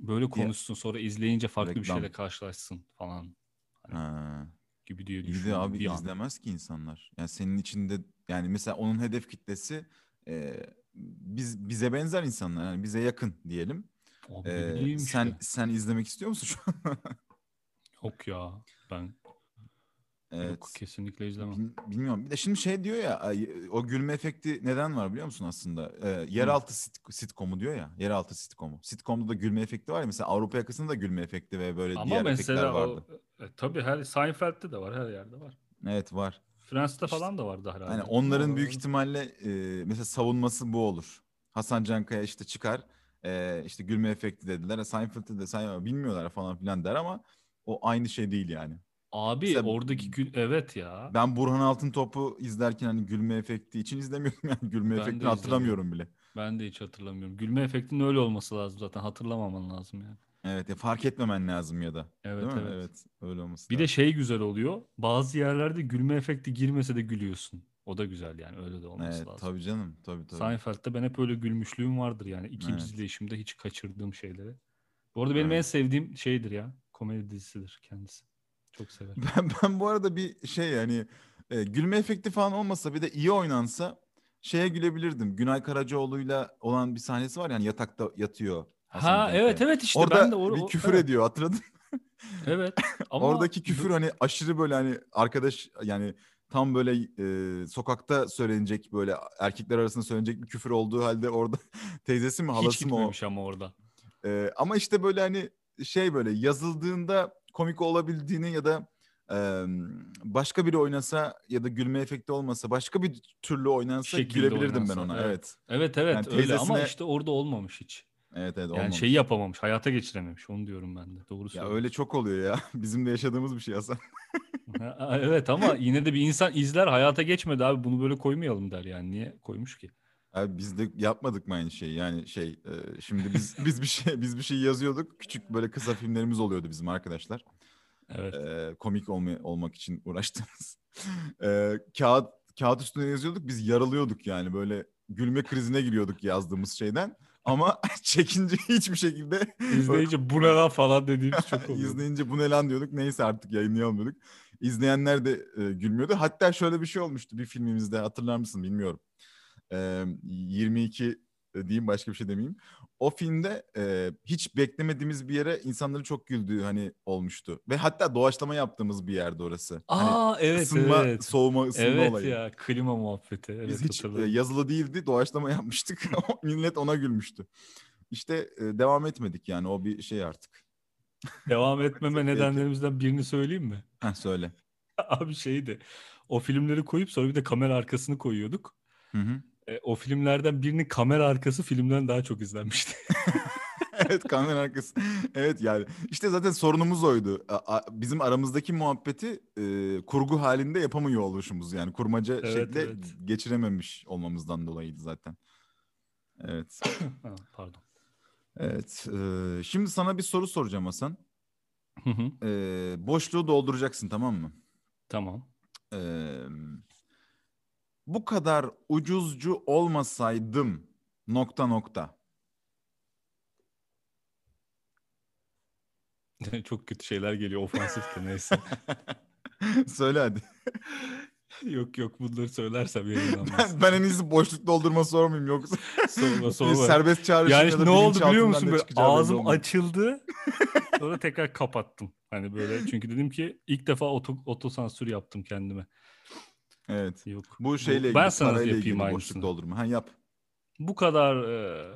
Speaker 1: böyle konuşsun sonra izleyince farklı bir
Speaker 2: Reklam.
Speaker 1: şeyle karşılaşsın falan
Speaker 2: Ha.
Speaker 1: gibi diye
Speaker 2: İyi de
Speaker 1: düşündüm
Speaker 2: abi
Speaker 1: bir an.
Speaker 2: izlemez ki insanlar. Yani senin içinde yani mesela onun hedef kitlesi e, biz bize benzer insanlar yani bize yakın diyelim.
Speaker 1: Abi ne
Speaker 2: E,
Speaker 1: bileyim
Speaker 2: sen
Speaker 1: işte.
Speaker 2: sen izlemek istiyor musun şu an? *laughs*
Speaker 1: Yok ya ben yok
Speaker 2: Evet.
Speaker 1: kesinlikle izlemem.
Speaker 2: Bil- Bilmiyorum. Bir de şimdi şey diyor ya ay- o gülme efekti neden var biliyor musun aslında? Ee, yeraltı sit- sitcomu diyor ya. Yeraltı sitcomu. Sitcom'da da gülme efekti var ya. Mesela Avrupa Yakası'nda da gülme efekti ve böyle
Speaker 1: Ama
Speaker 2: diğer efektler
Speaker 1: mesela
Speaker 2: vardı.
Speaker 1: o e, tabii her Seinfeld'de de var her yerde var.
Speaker 2: Evet var.
Speaker 1: Fransa'da
Speaker 2: İşte.
Speaker 1: falan da vardı herhalde.
Speaker 2: Yani Hani onların
Speaker 1: Ama-
Speaker 2: büyük ihtimalle e, mesela savunması bu olur. Hasan Cankaya işte çıkar. e, işte gülme efekti dediler. Seinfeld'de de Seinfeld bilmiyorlar falan filan der ama o aynı şey değil yani.
Speaker 1: Abi
Speaker 2: Mesela-
Speaker 1: oradaki gül evet ya.
Speaker 2: Ben Burhan Altıntop'u izlerken hani gülme efekti için izlemiyorum *laughs* yani
Speaker 1: Ben
Speaker 2: gülme
Speaker 1: de
Speaker 2: efektini
Speaker 1: izlemiyorum.
Speaker 2: hatırlamıyorum bile.
Speaker 1: Ben de hiç hatırlamıyorum. Gülme efektinin öyle olması lazım zaten. Hatırlamaman lazım yani.
Speaker 2: Evet ya fark etmemen lazım ya da.
Speaker 1: Evet
Speaker 2: Değil mi?
Speaker 1: evet.
Speaker 2: Evet. Öyle olması
Speaker 1: Bir de
Speaker 2: lazım.
Speaker 1: şey güzel oluyor. Bazı yerlerde gülme efekti girmese de gülüyorsun. O da güzel yani öyle de şey olması
Speaker 2: Evet,
Speaker 1: lazım.
Speaker 2: tabii canım. Tabii tabii.
Speaker 1: Seinfeld'de ben hep öyle gülmüşlüğüm vardır yani. İkinci
Speaker 2: Evet.
Speaker 1: izleyişimde hiç kaçırdığım şeyleri. Bu arada benim
Speaker 2: Evet.
Speaker 1: en sevdiğim şeydir ya. Komedi dizisidir kendisi. Çok severim.
Speaker 2: *laughs* Ben, ben bu arada bir şey yani e, gülme efekti falan olmasa bir de iyi oynansa şeye gülebilirdim. Günay Karacaoğlu'yla olan bir sahnesi var yani yatakta yatıyor. Hasan
Speaker 1: ha
Speaker 2: Cenk'le.
Speaker 1: evet evet işte
Speaker 2: Orada
Speaker 1: ben de or-
Speaker 2: bir
Speaker 1: o-
Speaker 2: küfür
Speaker 1: evet,
Speaker 2: ediyor hatırladın. mı? *laughs*
Speaker 1: Evet. Ama
Speaker 2: Oradaki küfür hani aşırı böyle hani arkadaş yani tam böyle e, sokakta söylenecek böyle erkekler arasında söylenecek bir küfür olduğu halde orada *laughs* teyzesi mi
Speaker 1: hiç
Speaker 2: halası mı o?
Speaker 1: gitmemiş ama orada.
Speaker 2: Ee, ama işte böyle hani şey böyle yazıldığında komik olabildiğini ya da e, başka biri oynasa ya da gülme efekti olmasa başka bir türlü oynansa
Speaker 1: Şekilde
Speaker 2: gülebilirdim ben
Speaker 1: oynansa,
Speaker 2: ona.
Speaker 1: evet. Evet
Speaker 2: Evet.
Speaker 1: evet
Speaker 2: Yani
Speaker 1: öyle ama
Speaker 2: teyzesine-
Speaker 1: işte orada olmamış hiç.
Speaker 2: Evet evet
Speaker 1: Yani şey
Speaker 2: olmamış.
Speaker 1: şeyi yapamamış. Hayata geçirememiş. Onu diyorum ben de. Doğru
Speaker 2: Ya
Speaker 1: söylüyorsun.
Speaker 2: öyle çok oluyor ya. *laughs* Bizim de yaşadığımız bir şey aslında.
Speaker 1: Ha, evet
Speaker 2: *laughs*
Speaker 1: ama yine de bir insan izler hayata geçmedi abi bunu böyle koymayalım der yani niye koymuş ki?
Speaker 2: Abi biz de yapmadık mı aynı şeyi? Yani şey e, şimdi biz biz bir şey biz bir şey yazıyorduk. Küçük böyle kısa filmlerimiz oluyordu bizim arkadaşlar.
Speaker 1: Evet.
Speaker 2: Ee, komik olma- olmak için uğraştığımız. *laughs* Ee, kağıt kağıt üstüne yazıyorduk biz yaralıyorduk yani böyle gülme krizine giriyorduk yazdığımız şeyden. Ama *laughs* çekince hiçbir şekilde
Speaker 1: İzleyince bu ne lan falan dediğimiz çok oluyor.
Speaker 2: izleyince bu ne lan diyorduk. Neyse artık yayınlayamıyorduk. İzleyenler de e, gülmüyordu. Hatta şöyle bir şey olmuştu bir filmimizde hatırlar mısın bilmiyorum. Ee, 22 diyeyim başka bir şey demeyeyim. O filmde e, hiç beklemediğimiz bir yere insanların çok güldüğü hani olmuştu. Ve hatta doğaçlama yaptığımız bir yerde orası. Hani
Speaker 1: Aa evet
Speaker 2: ısınma,
Speaker 1: evet.
Speaker 2: soğuma, ısınma
Speaker 1: evet
Speaker 2: olayı.
Speaker 1: ya klima muhabbeti. Evet,
Speaker 2: Biz hiç e,
Speaker 1: hatırladım.
Speaker 2: yazılı değildi, doğaçlama *laughs* yapmıştık. Millet ona gülmüştü. İşte e, devam etmedik yani o bir şey artık. e,
Speaker 1: Devam
Speaker 2: *laughs*
Speaker 1: etmeme
Speaker 2: Belki-
Speaker 1: nedenlerimizden birini söyleyeyim mi? *laughs*
Speaker 2: Heh, söyle.
Speaker 1: Abi şeydi o filmleri koyup sonra bir de kamera arkasını koyuyorduk.
Speaker 2: Hı hı.
Speaker 1: E, o filmlerden birinin kamera arkası filmden daha çok
Speaker 2: *laughs*
Speaker 1: izlenmişti.
Speaker 2: evet kamera arkası. Evet yani işte zaten sorunumuz oydu. A- a- Bizim aramızdaki muhabbeti e, kurgu halinde yapamıyor oluşumuz. Yani kurmaca
Speaker 1: Evet,
Speaker 2: şekle
Speaker 1: evet.
Speaker 2: geçirememiş olmamızdan dolayıydı zaten. Evet.
Speaker 1: Ha, Pardon.
Speaker 2: Evet. e, şimdi sana bir soru soracağım Hasan.
Speaker 1: Hı hı,
Speaker 2: E, boşluğu dolduracaksın tamam mı?
Speaker 1: tamam. *laughs*
Speaker 2: E, bu kadar ucuzcu olmasaydım nokta nokta. *laughs*
Speaker 1: Çok kötü şeyler geliyor ofansif de
Speaker 2: *laughs*
Speaker 1: neyse.
Speaker 2: Söyle hadi. *laughs*
Speaker 1: Yok yok bunları söylersem yayınlanmaz.
Speaker 2: Ben, ben en iyisi boşluk doldurma sormayayım yoksa.
Speaker 1: Sorma
Speaker 2: Bir
Speaker 1: sorma.
Speaker 2: Serbest çağrışım
Speaker 1: Yani
Speaker 2: ya
Speaker 1: işte
Speaker 2: da
Speaker 1: ne oldu
Speaker 2: bilinçaltından
Speaker 1: biliyor musun
Speaker 2: ne
Speaker 1: böyle
Speaker 2: çıkacağı belli
Speaker 1: ağzım
Speaker 2: olmuyor. *laughs*
Speaker 1: açıldı. Sonra tekrar kapattım. Hani böyle çünkü dedim ki ilk defa oto, otosansür yaptım kendime.
Speaker 2: Evet.
Speaker 1: Yok.
Speaker 2: Bu şeyle ilgili,
Speaker 1: ben sana
Speaker 2: parayla
Speaker 1: yapayım
Speaker 2: ilgili
Speaker 1: aynısını.
Speaker 2: boşluk doldurma. Ha yap. *laughs*
Speaker 1: Bu kadar e,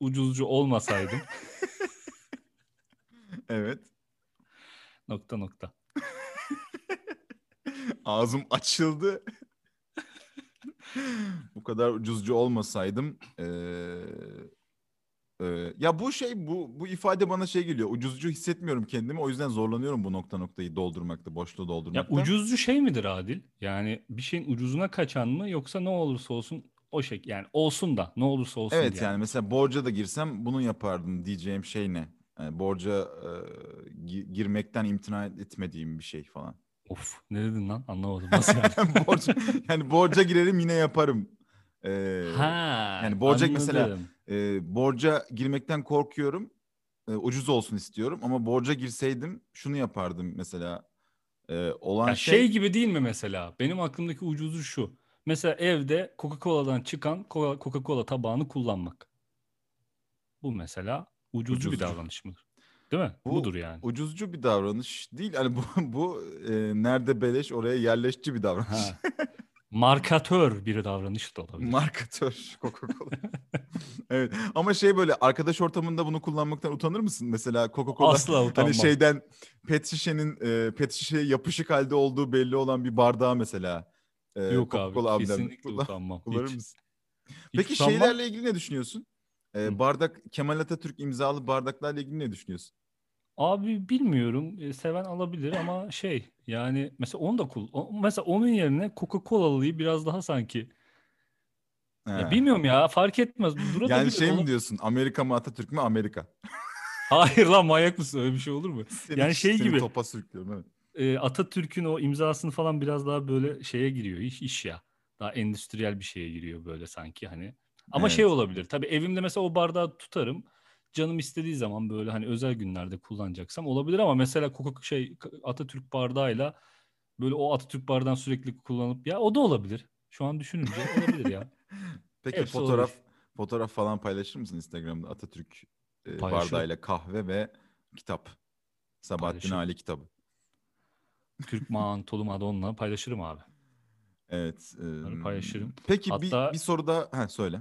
Speaker 1: ucuzcu
Speaker 2: *laughs*
Speaker 1: olmasaydım
Speaker 2: Evet.
Speaker 1: nokta nokta.
Speaker 2: Ağzım açıldı. *laughs* bu kadar ucuzcu olmasaydım. eee, eee, ya bu şey bu bu ifade bana şey geliyor. Ucuzcu hissetmiyorum kendimi. O yüzden zorlanıyorum bu nokta noktayı doldurmakta, boşluğu
Speaker 1: Ya
Speaker 2: doldurmakta.
Speaker 1: ucuzcu şey midir Adil? Yani bir şeyin ucuzuna kaçan mı yoksa ne olursa olsun o şey yani olsun da ne olursa olsun
Speaker 2: Evet
Speaker 1: diye.
Speaker 2: yani mesela borca da girsem bunu yapardım diyeceğim şey ne? Yani borca eee, gi- girmekten imtina etmediğim bir şey falan.
Speaker 1: Of ne dedin lan anlamadım nasıl yani?
Speaker 2: *laughs* borca, yani borca girerim yine yaparım. Ee,
Speaker 1: ha,
Speaker 2: yani borca mesela
Speaker 1: anladım.
Speaker 2: e, borca girmekten korkuyorum. E, ucuz olsun istiyorum ama borca girseydim şunu yapardım mesela. E, olan
Speaker 1: Ya
Speaker 2: şey,
Speaker 1: şey gibi değil mi mesela? Benim aklımdaki ucuzu şu. Mesela evde Coca-Cola'dan çıkan Coca- Coca-Cola tabağını kullanmak. Bu mesela ucuzcu bir
Speaker 2: Ucuzcu.
Speaker 1: davranış mıdır? Değil mi?
Speaker 2: Bu-
Speaker 1: Budur yani.
Speaker 2: ucuzcu bir davranış değil. Hani bu, *laughs* bu e, nerede beleş oraya yerleşçi bir davranış.
Speaker 1: Ha. Markatör bir davranış da olabilir.
Speaker 2: Markatör *laughs* Coca-Cola. evet ama şey böyle arkadaş ortamında bunu kullanmaktan utanır mısın? Mesela Coca-Cola
Speaker 1: Asla utanmam.
Speaker 2: Hani şeyden pet şişenin e, pet şişeye yapışık halde olduğu belli olan bir bardağı mesela. E,
Speaker 1: Yok abi
Speaker 2: Coca-Cola amblemi.
Speaker 1: kesinlikle
Speaker 2: Kullan-
Speaker 1: utanmam.
Speaker 2: kullanır
Speaker 1: Hiç,
Speaker 2: mısın?
Speaker 1: hiç
Speaker 2: Peki
Speaker 1: utanmam.
Speaker 2: şeylerle ilgili ne düşünüyorsun? E,
Speaker 1: Hı.
Speaker 2: bardak Kemal Atatürk imzalı bardaklarla ilgili ne düşünüyorsun?
Speaker 1: Abi bilmiyorum. E, Seven alabilir ama şey yani mesela onu da kul o- mesela onun yerine Coca-Cola'lıyı biraz daha sanki
Speaker 2: He.
Speaker 1: ya bilmiyorum ya fark etmez.
Speaker 2: Yani
Speaker 1: Durabilir.
Speaker 2: şey
Speaker 1: Ola-
Speaker 2: mi diyorsun? Amerika mı Atatürk mü Amerika?
Speaker 1: Hayır lan manyak mısın öyle bir şey olur mu?
Speaker 2: Seni-
Speaker 1: Yani şey
Speaker 2: seni
Speaker 1: gibi.
Speaker 2: Topa sürüklüyorum evet.
Speaker 1: Ee, Atatürk'ün o imzasını falan biraz daha böyle şeye giriyor iş, iş ya. Daha endüstriyel bir şeye giriyor böyle sanki hani. Ama
Speaker 2: Evet.
Speaker 1: şey olabilir tabii evimde mesela o bardağı tutarım. Canım istediği zaman böyle hani özel günlerde kullanacaksam olabilir ama mesela Coca şey Atatürk bardağıyla böyle o Atatürk bardağını sürekli kullanıp ya o da olabilir. Şu an düşününce olabilir ya.
Speaker 2: Peki
Speaker 1: Hepsi
Speaker 2: fotoğraf
Speaker 1: olabilir.
Speaker 2: fotoğraf falan paylaşır mısın Instagram'da Atatürk e,
Speaker 1: Paylaşırım.
Speaker 2: bardağıyla kahve ve kitap. Sabahattin
Speaker 1: Paylaşırım.
Speaker 2: Ali kitabı.
Speaker 1: Türk mantolu Madonna paylaşırım abi.
Speaker 2: Evet. e,
Speaker 1: paylaşırım.
Speaker 2: Peki
Speaker 1: Hatta-
Speaker 2: bir, bir soru daha ha, söyle.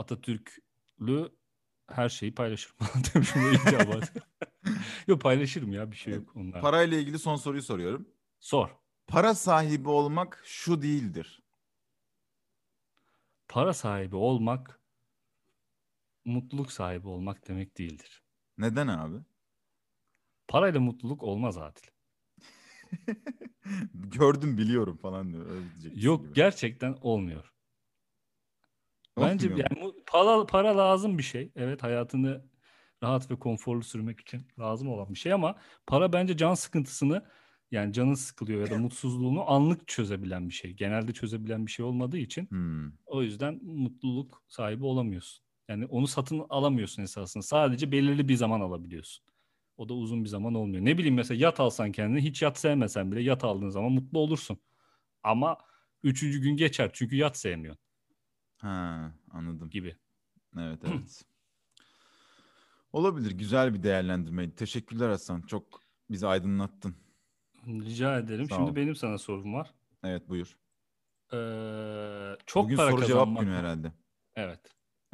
Speaker 1: Atatürklü her şeyi paylaşırım. *laughs* Demişim de iyice abartı. Yok paylaşırım ya bir şey yok onlar.
Speaker 2: Parayla ilgili son soruyu soruyorum.
Speaker 1: Sor.
Speaker 2: Para sahibi olmak şu değildir.
Speaker 1: Para sahibi olmak mutluluk sahibi olmak demek değildir.
Speaker 2: Neden abi? *laughs*
Speaker 1: Parayla mutluluk olmaz Adil.
Speaker 2: Gördüm biliyorum falan diyor. Öyle diyeceksin
Speaker 1: Yok
Speaker 2: şey gibi.
Speaker 1: gerçekten olmuyor. Bence
Speaker 2: Olmuyor mu?
Speaker 1: yani bu- para, para lazım bir şey. Evet hayatını rahat ve konforlu sürmek için lazım olan bir şey ama para bence can sıkıntısını yani canın sıkılıyor ya da mutsuzluğunu anlık çözebilen bir şey. Genelde çözebilen bir şey olmadığı için
Speaker 2: Hmm.
Speaker 1: O yüzden mutluluk sahibi olamıyorsun. Yani onu satın alamıyorsun esasında. Sadece belirli bir zaman alabiliyorsun. O da uzun bir zaman olmuyor. Ne bileyim mesela yat alsan kendine hiç yat sevmesen bile yat aldığın zaman mutlu olursun. Ama üçüncü gün geçer çünkü yat sevmiyorsun
Speaker 2: Ha, anladım.
Speaker 1: gibi.
Speaker 2: Evet evet. Olabilir. Güzel bir değerlendirmeydi. Teşekkürler Hasan. Çok bizi aydınlattın.
Speaker 1: Rica ederim.
Speaker 2: Sağ
Speaker 1: Şimdi
Speaker 2: ol.
Speaker 1: benim sana sorum var.
Speaker 2: Evet buyur.
Speaker 1: Ee, çok
Speaker 2: Bugün
Speaker 1: para
Speaker 2: soru cevap
Speaker 1: kazanmak.
Speaker 2: günü herhalde.
Speaker 1: Evet.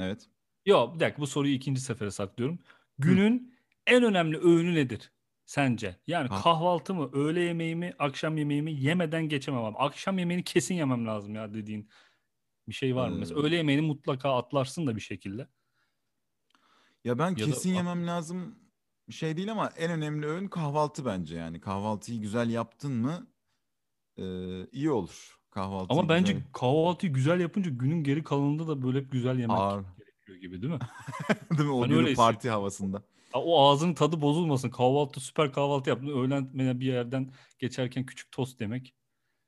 Speaker 2: Evet.
Speaker 1: Yok bir dakika bu soruyu ikinci sefere saklıyorum. Günün en önemli öğünü nedir sence? Yani
Speaker 2: Ha.
Speaker 1: kahvaltı mı, öğle yemeği mi, akşam yemeği mi yemeden geçemem abi. Akşam yemeğini kesin yemem lazım ya dediğin bir şey var mı? Mesela
Speaker 2: Ee,
Speaker 1: öğle yemeğini mutlaka atlarsın da bir şekilde.
Speaker 2: Ya ben
Speaker 1: da-
Speaker 2: kesin yemem lazım bir şey değil ama en önemli öğün kahvaltı bence yani. Kahvaltıyı güzel yaptın mı e, iyi olur. Kahvaltıyı
Speaker 1: Ama bence
Speaker 2: güzel-
Speaker 1: kahvaltıyı güzel yapınca günün geri kalanında da böyle hep güzel yemek
Speaker 2: Ağır.
Speaker 1: gerekiyor gibi değil mi?
Speaker 2: Değil mi? O
Speaker 1: Ben
Speaker 2: günü
Speaker 1: öyle
Speaker 2: parti havasında.
Speaker 1: Ya O ağzının tadı bozulmasın. Kahvaltı süper kahvaltı yaptın. Öğlen mesela bir yerden geçerken küçük tost demek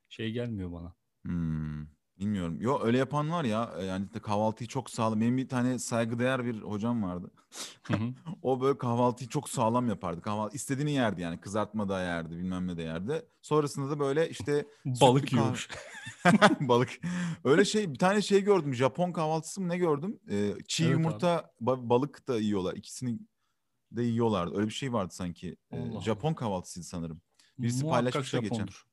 Speaker 1: şey gelmiyor bana.
Speaker 2: Hmm, bilmiyorum. Yo öyle yapan var ya e, yani de kahvaltıyı çok sağlam. Benim bir tane saygıdeğer bir hocam vardı.
Speaker 1: Hı hı.
Speaker 2: *laughs* O böyle kahvaltıyı çok sağlam yapardı. Kahvaltı istediğini yerdi yani. Kızartma da yerdi, bilmem ne de yerdi. Sonrasında da böyle işte
Speaker 1: Balık
Speaker 2: kahve-
Speaker 1: yiyormuş.
Speaker 2: *laughs* balık. Öyle şey bir tane şey gördüm. Japon kahvaltısı mı ne gördüm? Ee, çiğ
Speaker 1: Evet abi.
Speaker 2: yumurta, ba- balık da yiyorlar. İkisini de yiyorlardı. Öyle bir şey vardı sanki. Ee,
Speaker 1: Allah Allah.
Speaker 2: Japon kahvaltısıydı sanırım. Birisi
Speaker 1: Muhakkak
Speaker 2: paylaşmış da geçen.
Speaker 1: Japondur.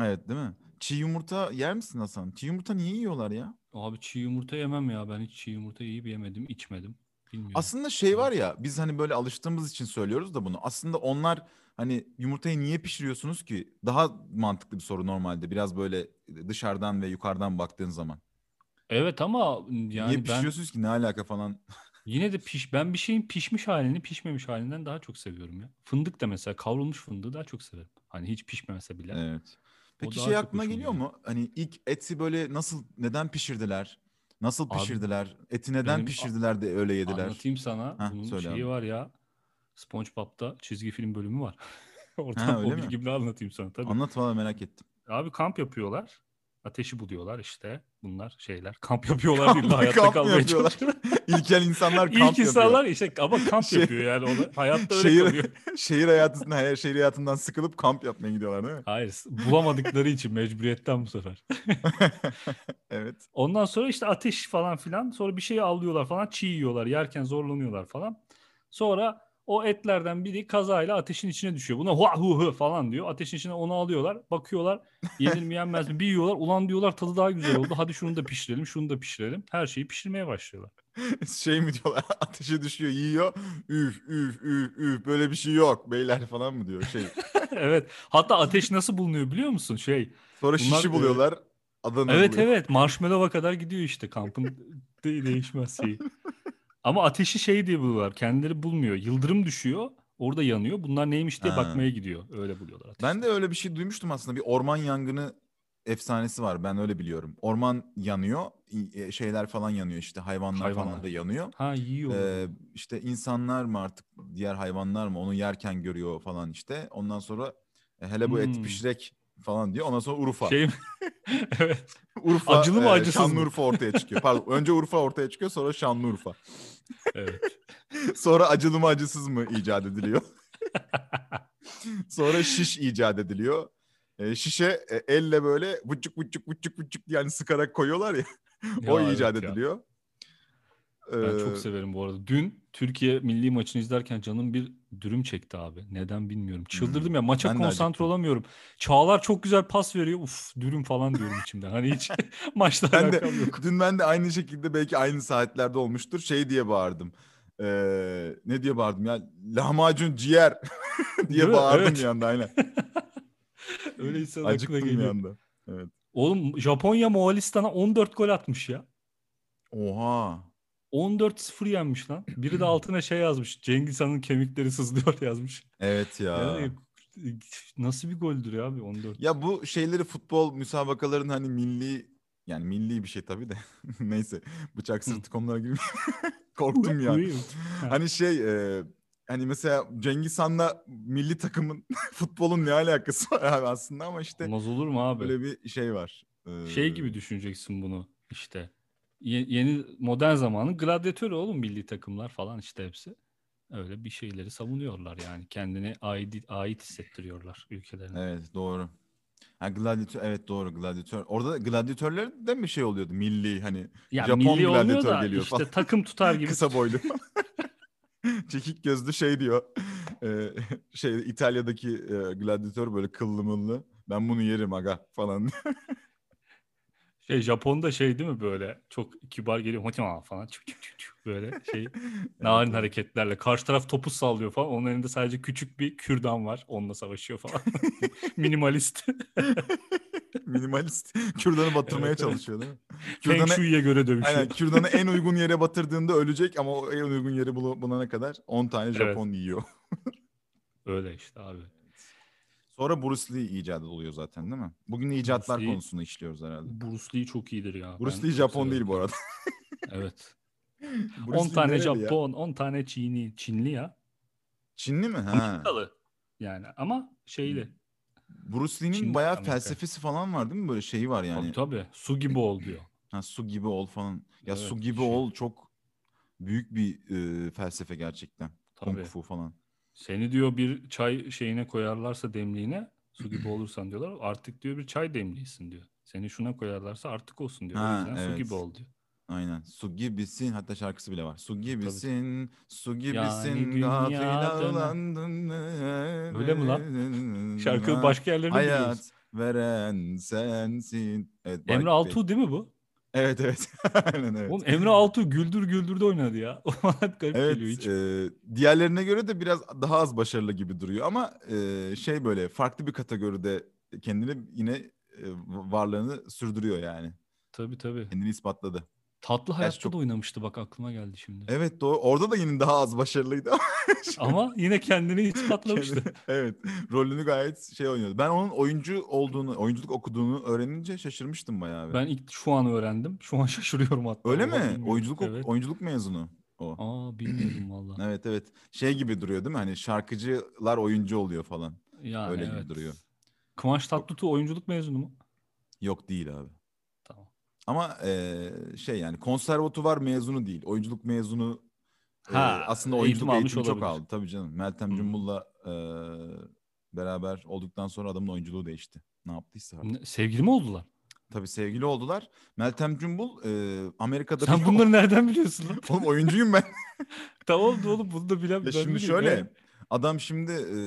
Speaker 2: Evet, değil mi? Çiğ yumurta yer misin Hasan? Çiğ yumurta niye yiyorlar ya?
Speaker 1: Abi çiğ yumurta yemem ya. Ben hiç çiğ yumurta yiyip yemedim, içmedim. Bilmiyorum.
Speaker 2: Aslında şey var ya biz hani böyle alıştığımız için söylüyoruz da bunu. Aslında onlar hani yumurtayı niye pişiriyorsunuz ki? Daha mantıklı bir soru normalde. Biraz böyle dışarıdan ve yukarıdan baktığın zaman.
Speaker 1: Evet ama
Speaker 2: niye
Speaker 1: yani ben
Speaker 2: pişiriyorsunuz ki? Ne alaka falan?
Speaker 1: yine de piş ben bir şeyin pişmiş halini pişmemiş halinden daha çok seviyorum ya. Fındık da mesela kavrulmuş fındığı daha çok severim. Hani hiç pişmese bile.
Speaker 2: Evet. Peki
Speaker 1: daha
Speaker 2: şey
Speaker 1: çok
Speaker 2: aklına
Speaker 1: hoşuma
Speaker 2: geliyor
Speaker 1: gidiyor.
Speaker 2: mu? Hani ilk eti böyle nasıl neden pişirdiler? Nasıl
Speaker 1: Abi,
Speaker 2: pişirdiler? Eti neden
Speaker 1: benim-
Speaker 2: pişirdiler de öyle yediler?
Speaker 1: Anlatayım sana.
Speaker 2: Heh,
Speaker 1: Bunun
Speaker 2: söyle
Speaker 1: şeyi
Speaker 2: abi.
Speaker 1: var ya. SpongeBob'ta çizgi film bölümü var. *laughs* Oradan
Speaker 2: Ha, öyle
Speaker 1: o
Speaker 2: mi?
Speaker 1: bilgimle anlatayım sana tabii.
Speaker 2: Anlat valla merak ettim. *laughs*
Speaker 1: Abi kamp yapıyorlar. Ateşi buluyorlar işte. Bunlar şeyler. Kamp
Speaker 2: *laughs*
Speaker 1: yapıyorlar değil de hayatta
Speaker 2: kamp
Speaker 1: kalmaya
Speaker 2: yapıyorlar.
Speaker 1: çalışıyorlar.
Speaker 2: İlkel
Speaker 1: *laughs*
Speaker 2: insanlar kamp
Speaker 1: İlk
Speaker 2: yapıyor.
Speaker 1: insanlar işte ama kamp
Speaker 2: Şey-
Speaker 1: yapıyor yani. Ona, hayatta öyle kalıyor.
Speaker 2: *laughs* Şehir, *laughs* şehir hayatından, hayal- şehir hayatından sıkılıp kamp yapmaya gidiyorlar değil mi?
Speaker 1: Hayır s- bulamadıkları için mecburiyetten bu sefer.
Speaker 2: *laughs* Evet. *laughs*
Speaker 1: Ondan sonra işte ateş falan filan. Sonra bir şey avlıyorlar falan. Çiğ yiyorlar. Yerken zorlanıyorlar falan. Sonra o etlerden biri kazayla ateşin içine düşüyor. Buna hua hu hu falan diyor. Ateşin içine onu alıyorlar. Bakıyorlar yenir mi yenmez mi bir yiyorlar. Ulan diyorlar tadı daha güzel oldu. Hadi şunu da pişirelim şunu da pişirelim. Her şeyi pişirmeye başlıyorlar. *laughs*
Speaker 2: Şey mi diyorlar *laughs* ateşe düşüyor yiyor. Üf üf üf üf böyle bir şey yok beyler falan mı diyor şey.
Speaker 1: evet. Hatta ateş nasıl bulunuyor biliyor musun? Şey
Speaker 2: Sonra şişi
Speaker 1: Bunlar, e,
Speaker 2: buluyorlar. Adana
Speaker 1: Evet
Speaker 2: buluyor.
Speaker 1: evet marshmallow'a kadar gidiyor işte kampın de- değişmez şeyi. Ama ateşi şey diye buluyorlar. Kendileri bulmuyor. Yıldırım düşüyor. Orada yanıyor. Bunlar neymiş diye
Speaker 2: Ha.
Speaker 1: bakmaya gidiyor. Öyle buluyorlar ateşi.
Speaker 2: Ben de öyle bir şey duymuştum aslında. Bir orman yangını efsanesi var. Ben öyle biliyorum. Orman yanıyor. i- e, Şeyler falan yanıyor işte. Hayvanlar,
Speaker 1: Hayvanlar.
Speaker 2: falan da yanıyor.
Speaker 1: Ha yiyor.
Speaker 2: Ee, işte insanlar mı artık diğer hayvanlar mı onu yerken görüyor falan işte. Ondan sonra e, hele bu et
Speaker 1: Hmm.
Speaker 2: pişirek falan diyor. Ondan sonra Urfa.
Speaker 1: şey mi? *laughs* evet.
Speaker 2: Urfa
Speaker 1: acılı mı,
Speaker 2: e,
Speaker 1: acısız mı?
Speaker 2: Şanlıurfa ortaya çıkıyor. Pardon önce Urfa ortaya çıkıyor sonra Şanlıurfa.
Speaker 1: evet.
Speaker 2: Sonra acılı mı acısız mı
Speaker 1: *laughs*
Speaker 2: icat ediliyor. Sonra şiş icat ediliyor. E, şişe e, elle böyle buçuk buçuk buçuk buçuk yani sıkarak koyuyorlar ya. *laughs*
Speaker 1: *laughs*
Speaker 2: o
Speaker 1: Ya
Speaker 2: icat
Speaker 1: evet ya.
Speaker 2: ediliyor.
Speaker 1: Ben
Speaker 2: Ee,
Speaker 1: çok severim bu arada. Dün Türkiye milli maçını izlerken canım bir dürüm çekti abi. Neden bilmiyorum. Çıldırdım ya maça
Speaker 2: Hmm. ben de
Speaker 1: konsantre
Speaker 2: acıktım.
Speaker 1: olamıyorum. Çağlar çok güzel pas veriyor. Uf dürüm falan diyorum içimden. Hani
Speaker 2: *laughs*
Speaker 1: hiç *laughs* maçla
Speaker 2: Ben de-
Speaker 1: alakam yok.
Speaker 2: Dün ben de aynı şekilde belki aynı saatlerde olmuştur. Şey diye bağırdım. Ee, ne diye bağırdım ya? Lahmacun ciğer *laughs*
Speaker 1: Değil
Speaker 2: diye
Speaker 1: mi?
Speaker 2: bağırdım
Speaker 1: Evet.
Speaker 2: bir anda aynen.
Speaker 1: *laughs* Öyle insan aklına
Speaker 2: Acıktım bir
Speaker 1: geliyor.
Speaker 2: anda.
Speaker 1: Oğlum Japonya Moğolistan'a 14 gol atmış ya.
Speaker 2: Oha.
Speaker 1: 14-0 yenmiş lan. Biri
Speaker 2: *clears throat*
Speaker 1: de altına şey yazmış. Cengiz Han'ın kemikleri sızlıyor *laughs* yazmış.
Speaker 2: Evet ya.
Speaker 1: Yani nasıl bir goldür ya abi 14.
Speaker 2: Ya bu şeyleri futbol müsabakaların hani milli yani milli bir şey tabii de *laughs* neyse bıçak sırtı konulara girmeyeyim. *laughs* Korktum ya.
Speaker 1: Uyuyayım. Ha.
Speaker 2: Hani şey e, hani mesela Cengiz Han'la milli takımın *laughs* futbolun ne alakası var abi aslında ama işte
Speaker 1: Olmaz olur mu abi?
Speaker 2: böyle bir şey var. Ee,
Speaker 1: Şey gibi düşüneceksin bunu işte. Ye- yeni modern zamanın gladyatörü oğlum milli takımlar falan işte hepsi. Öyle bir şeyleri savunuyorlar yani. Kendini ait, ait hissettiriyorlar ülkelerine.
Speaker 2: Evet doğru. Ha, gladyatör evet doğru gladyatör. Orada gladyatörlerden bir şey oluyordu milli hani
Speaker 1: Ya
Speaker 2: Japon
Speaker 1: milli olmuyor
Speaker 2: gladyatör
Speaker 1: da
Speaker 2: geliyor
Speaker 1: işte
Speaker 2: falan.
Speaker 1: takım tutar
Speaker 2: *laughs*
Speaker 1: gibi.
Speaker 2: kısa boylu. Çekik gözlü şey diyor. Ee, *laughs* şey İtalya'daki e, gladyatör böyle kıllı mıllı. Ben bunu yerim aga falan.
Speaker 1: Şey Japon'da şey değil mi böyle çok kibar geliyor "Hotima" falan çık çık çık çık böyle şey narin
Speaker 2: *laughs* evet.
Speaker 1: hareketlerle karşı taraf topu sallıyor falan onun elinde sadece küçük bir kürdan var onunla savaşıyor
Speaker 2: *laughs*
Speaker 1: falan *laughs* minimalist
Speaker 2: *laughs* Minimalist. Kürdanı batırmaya
Speaker 1: Evet, evet.
Speaker 2: çalışıyor değil mi?
Speaker 1: Feng
Speaker 2: Kürdanı,
Speaker 1: Shui'ye göre dövüşüyor.
Speaker 2: aynen,
Speaker 1: *laughs*
Speaker 2: kürdanı en uygun yere batırdığında ölecek ama o en uygun yeri bul- bulana kadar 10 tane
Speaker 1: Evet.
Speaker 2: Japon yiyor.
Speaker 1: Öyle işte abi.
Speaker 2: Sonra Bruce Lee icadı oluyor zaten değil mi? Bugün icatlar
Speaker 1: Bruce Lee-
Speaker 2: konusunu işliyoruz herhalde.
Speaker 1: Bruce Lee çok iyidir ya.
Speaker 2: Bruce
Speaker 1: Ben
Speaker 2: Lee
Speaker 1: çok
Speaker 2: Japon değil
Speaker 1: severim.
Speaker 2: bu arada. *laughs*
Speaker 1: Evet.
Speaker 2: Bruce
Speaker 1: 10
Speaker 2: Lee
Speaker 1: tane
Speaker 2: nereli ya?
Speaker 1: Japon, 10 tane Çinli, Çinli ya.
Speaker 2: Çinli mi? Ha.
Speaker 1: Amerikalı. Yani ama
Speaker 2: Hmm.
Speaker 1: şeyli.
Speaker 2: Bruce Lee'nin
Speaker 1: Çinli
Speaker 2: bayağı
Speaker 1: Amerika.
Speaker 2: felsefesi falan var değil mi? Böyle şeyi var
Speaker 1: Tabii
Speaker 2: yani.
Speaker 1: tabii. Su gibi ol diyor.
Speaker 2: Ha, su gibi ol falan. Ya su
Speaker 1: Evet,
Speaker 2: gibi
Speaker 1: şey.
Speaker 2: ol çok büyük bir e, felsefe gerçekten.
Speaker 1: Tabii.
Speaker 2: Kung fu falan.
Speaker 1: Seni diyor bir çay şeyine koyarlarsa demliğine su gibi olursan diyorlar. Artık diyor bir çay demliğisin diyor. Seni şuna koyarlarsa artık olsun diyor. o
Speaker 2: Ha,
Speaker 1: yüzden su
Speaker 2: evet.
Speaker 1: gibi ol diyor.
Speaker 2: Aynen. Su gibisin. Hatta şarkısı bile var. Su gibisin, su gibisin.
Speaker 1: dünya
Speaker 2: gafil
Speaker 1: dönen-
Speaker 2: ağlandın.
Speaker 1: Öyle mi Şarkının başka yerlerini biliyoruz.
Speaker 2: Hmm, Hayat veren sensin. Evet,
Speaker 1: Emre
Speaker 2: Bay-
Speaker 1: Altuğ değil mi bu?
Speaker 2: Evet evet. *laughs* Aynen evet.
Speaker 1: Oğlum Emre Altuğ güldür güldürde oynadı ya. *laughs* O bana hep garip
Speaker 2: Evet,
Speaker 1: geliyor hiç.
Speaker 2: e, diğerlerine göre de biraz daha az başarılı gibi duruyor ama e, şey böyle farklı bir kategoride kendini yine e, varlığını sürdürüyor yani.
Speaker 1: Tabii tabii.
Speaker 2: Kendini ispatladı.
Speaker 1: Tatlı Hayat'ta
Speaker 2: çok-
Speaker 1: da oynamıştı bak aklıma geldi şimdi.
Speaker 2: Evet doğru. Orada da yine daha az başarılıydı ama
Speaker 1: *laughs* Ama yine kendini
Speaker 2: *laughs*
Speaker 1: ispatlamıştı.
Speaker 2: kendini- evet. Rolünü gayet şey oynuyordu. Ben onun oyuncu olduğunu, oyunculuk okuduğunu öğrenince şaşırmıştım bayağı. bir.
Speaker 1: ben ilk şu an öğrendim. Şu an *laughs* şaşırıyorum hatta.
Speaker 2: Öyle
Speaker 1: Oha,
Speaker 2: mi?
Speaker 1: bilmiyordum.
Speaker 2: Oyunculuk ok-
Speaker 1: Evet.
Speaker 2: oyunculuk mezunu o.
Speaker 1: Aa bilmiyordum valla.
Speaker 2: *clears throat* Evet evet. Şey gibi duruyor değil mi? Hani şarkıcılar oyuncu oluyor falan.
Speaker 1: Yani
Speaker 2: Öyle gibi
Speaker 1: evet.
Speaker 2: duruyor.
Speaker 1: Kıvanç Tatlıtuğ oyunculuk mezunu mu?
Speaker 2: Yok değil abi.
Speaker 1: Tamam.
Speaker 2: Ama eee, şey yani konservatuvar mezunu değil. Oyunculuk mezunu eee,
Speaker 1: Ha,
Speaker 2: aslında
Speaker 1: eğitim
Speaker 2: oyunculuk
Speaker 1: almış
Speaker 2: eğitimi çok
Speaker 1: olabilir. Hmm.
Speaker 2: aldı. Tabii canım. Meltem
Speaker 1: Hı.
Speaker 2: Cumbul'la eee, beraber olduktan sonra adamın oyunculuğu değişti. Ne yaptıysa artık.
Speaker 1: Ne- Sevgili mi oldular?
Speaker 2: Tabii sevgili oldular. Meltem Cumbul eee, Amerika'da
Speaker 1: Sen *laughs*
Speaker 2: bir-
Speaker 1: bunları nereden biliyorsun lan?
Speaker 2: *laughs* Oğlum oyuncuyum ben.
Speaker 1: *laughs* tamam da oğlum bunu da bilen ben
Speaker 2: Ya şimdi
Speaker 1: biliyorum
Speaker 2: şöyle
Speaker 1: ya.
Speaker 2: adam şimdi e,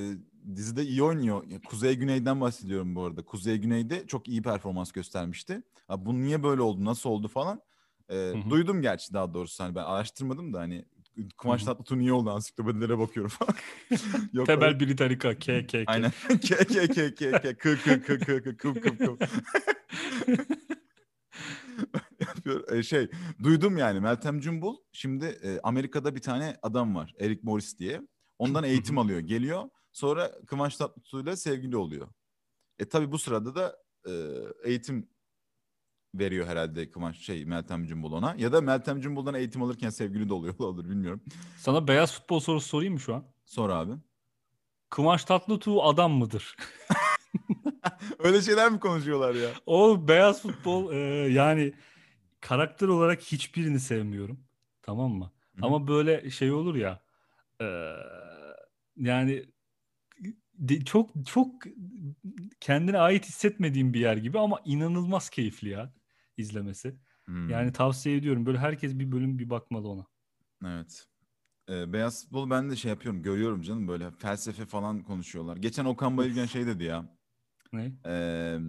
Speaker 2: dizide iyi oynuyor. Ya Kuzey Güney'den bahsediyorum bu arada. Kuzey Güney'de çok iyi performans göstermişti. Ha, bu niye böyle oldu, nasıl oldu falan. E,
Speaker 1: hı.
Speaker 2: duydum gerçi daha doğrusu. Hani ben araştırmadım da hani Kıvanç
Speaker 1: Hı hı.
Speaker 2: Tatlıtuğ niye oldu ansiklopedilere bakıyorum falan. *laughs* Yok,
Speaker 1: Tebel Britannica K K K.
Speaker 2: *laughs* Aynen. K k k k k k k k k k kıv kıv kıv. *laughs* Yapıyor- e, şey duydum yani Meltem Cumbul şimdi e, Amerika'da bir tane adam var Eric Morris diye. Ondan eğitim alıyor, geliyor. Sonra Kıvanç Tatlıtuğ'la sevgili oluyor. E tabi bu sırada da e, eğitim veriyor herhalde Kıvanç şey Meltem Cumbulon'a. Ya da Meltem Cumbulon'a eğitim alırken sevgili de oluyor olur bilmiyorum.
Speaker 1: Sana beyaz futbol sorusu sorayım mı şu an?
Speaker 2: Sor abi. *laughs*
Speaker 1: Kıvanç Tatlıtuğ adam mıdır? *laughs*
Speaker 2: Öyle şeyler mi konuşuyorlar ya?
Speaker 1: O beyaz futbol e, yani karakter olarak hiçbirini sevmiyorum. Tamam mı?
Speaker 2: Hı.
Speaker 1: Ama böyle şey olur ya. e, yani de- çok çok kendine ait hissetmediğim bir yer gibi ama inanılmaz keyifli ya izlemesi.
Speaker 2: Hmm,
Speaker 1: Yani tavsiye ediyorum. Böyle herkes bir bölüm bir bakmalı ona.
Speaker 2: Evet. E, beyaz futbol ben de şey yapıyorum görüyorum canım böyle felsefe falan konuşuyorlar. Geçen Okan Bayülgen şey dedi ya.
Speaker 1: Ne?
Speaker 2: Eee,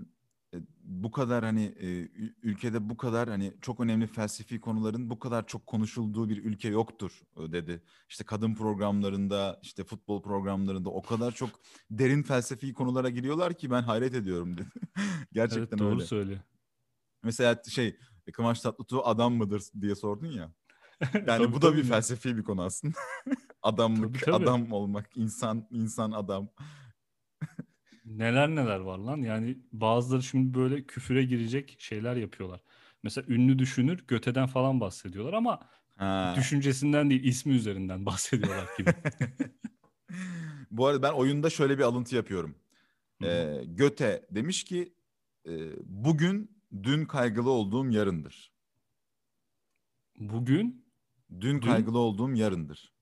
Speaker 2: e, bu kadar hani e, ü- ülkede bu kadar hani çok önemli felsefi konuların bu kadar çok konuşulduğu bir ülke yoktur e, dedi. İşte kadın programlarında, işte futbol programlarında o kadar çok derin felsefi konulara giriyorlar ki ben hayret ediyorum dedi. *laughs*
Speaker 1: Evet
Speaker 2: Gerçekten
Speaker 1: doğru
Speaker 2: öyle.
Speaker 1: söylüyor.
Speaker 2: Mesela şey e, Kıvanç Tatlıtuğ adam mıdır diye sordun ya. *laughs* Yani
Speaker 1: Tabii,
Speaker 2: bu da bir
Speaker 1: tabii.
Speaker 2: felsefi bir konu aslında. *laughs* Adamlık,
Speaker 1: Tabii, tabii.
Speaker 2: adam olmak, insan, insan adam.
Speaker 1: Neler neler var lan. Yani bazıları şimdi böyle küfüre girecek şeyler yapıyorlar. Mesela ünlü düşünür, göteden falan bahsediyorlar ama
Speaker 2: Ha.
Speaker 1: düşüncesinden değil, ismi üzerinden *laughs* bahsediyorlar
Speaker 2: *laughs*
Speaker 1: gibi.
Speaker 2: Bu arada ben oyunda şöyle bir alıntı yapıyorum.
Speaker 1: Hı hı.
Speaker 2: Ee, Göte demiş ki e, bugün dün kaygılı olduğum yarındır.
Speaker 1: Bugün
Speaker 2: Dün,
Speaker 1: Dün?
Speaker 2: kaygılı olduğum yarındır.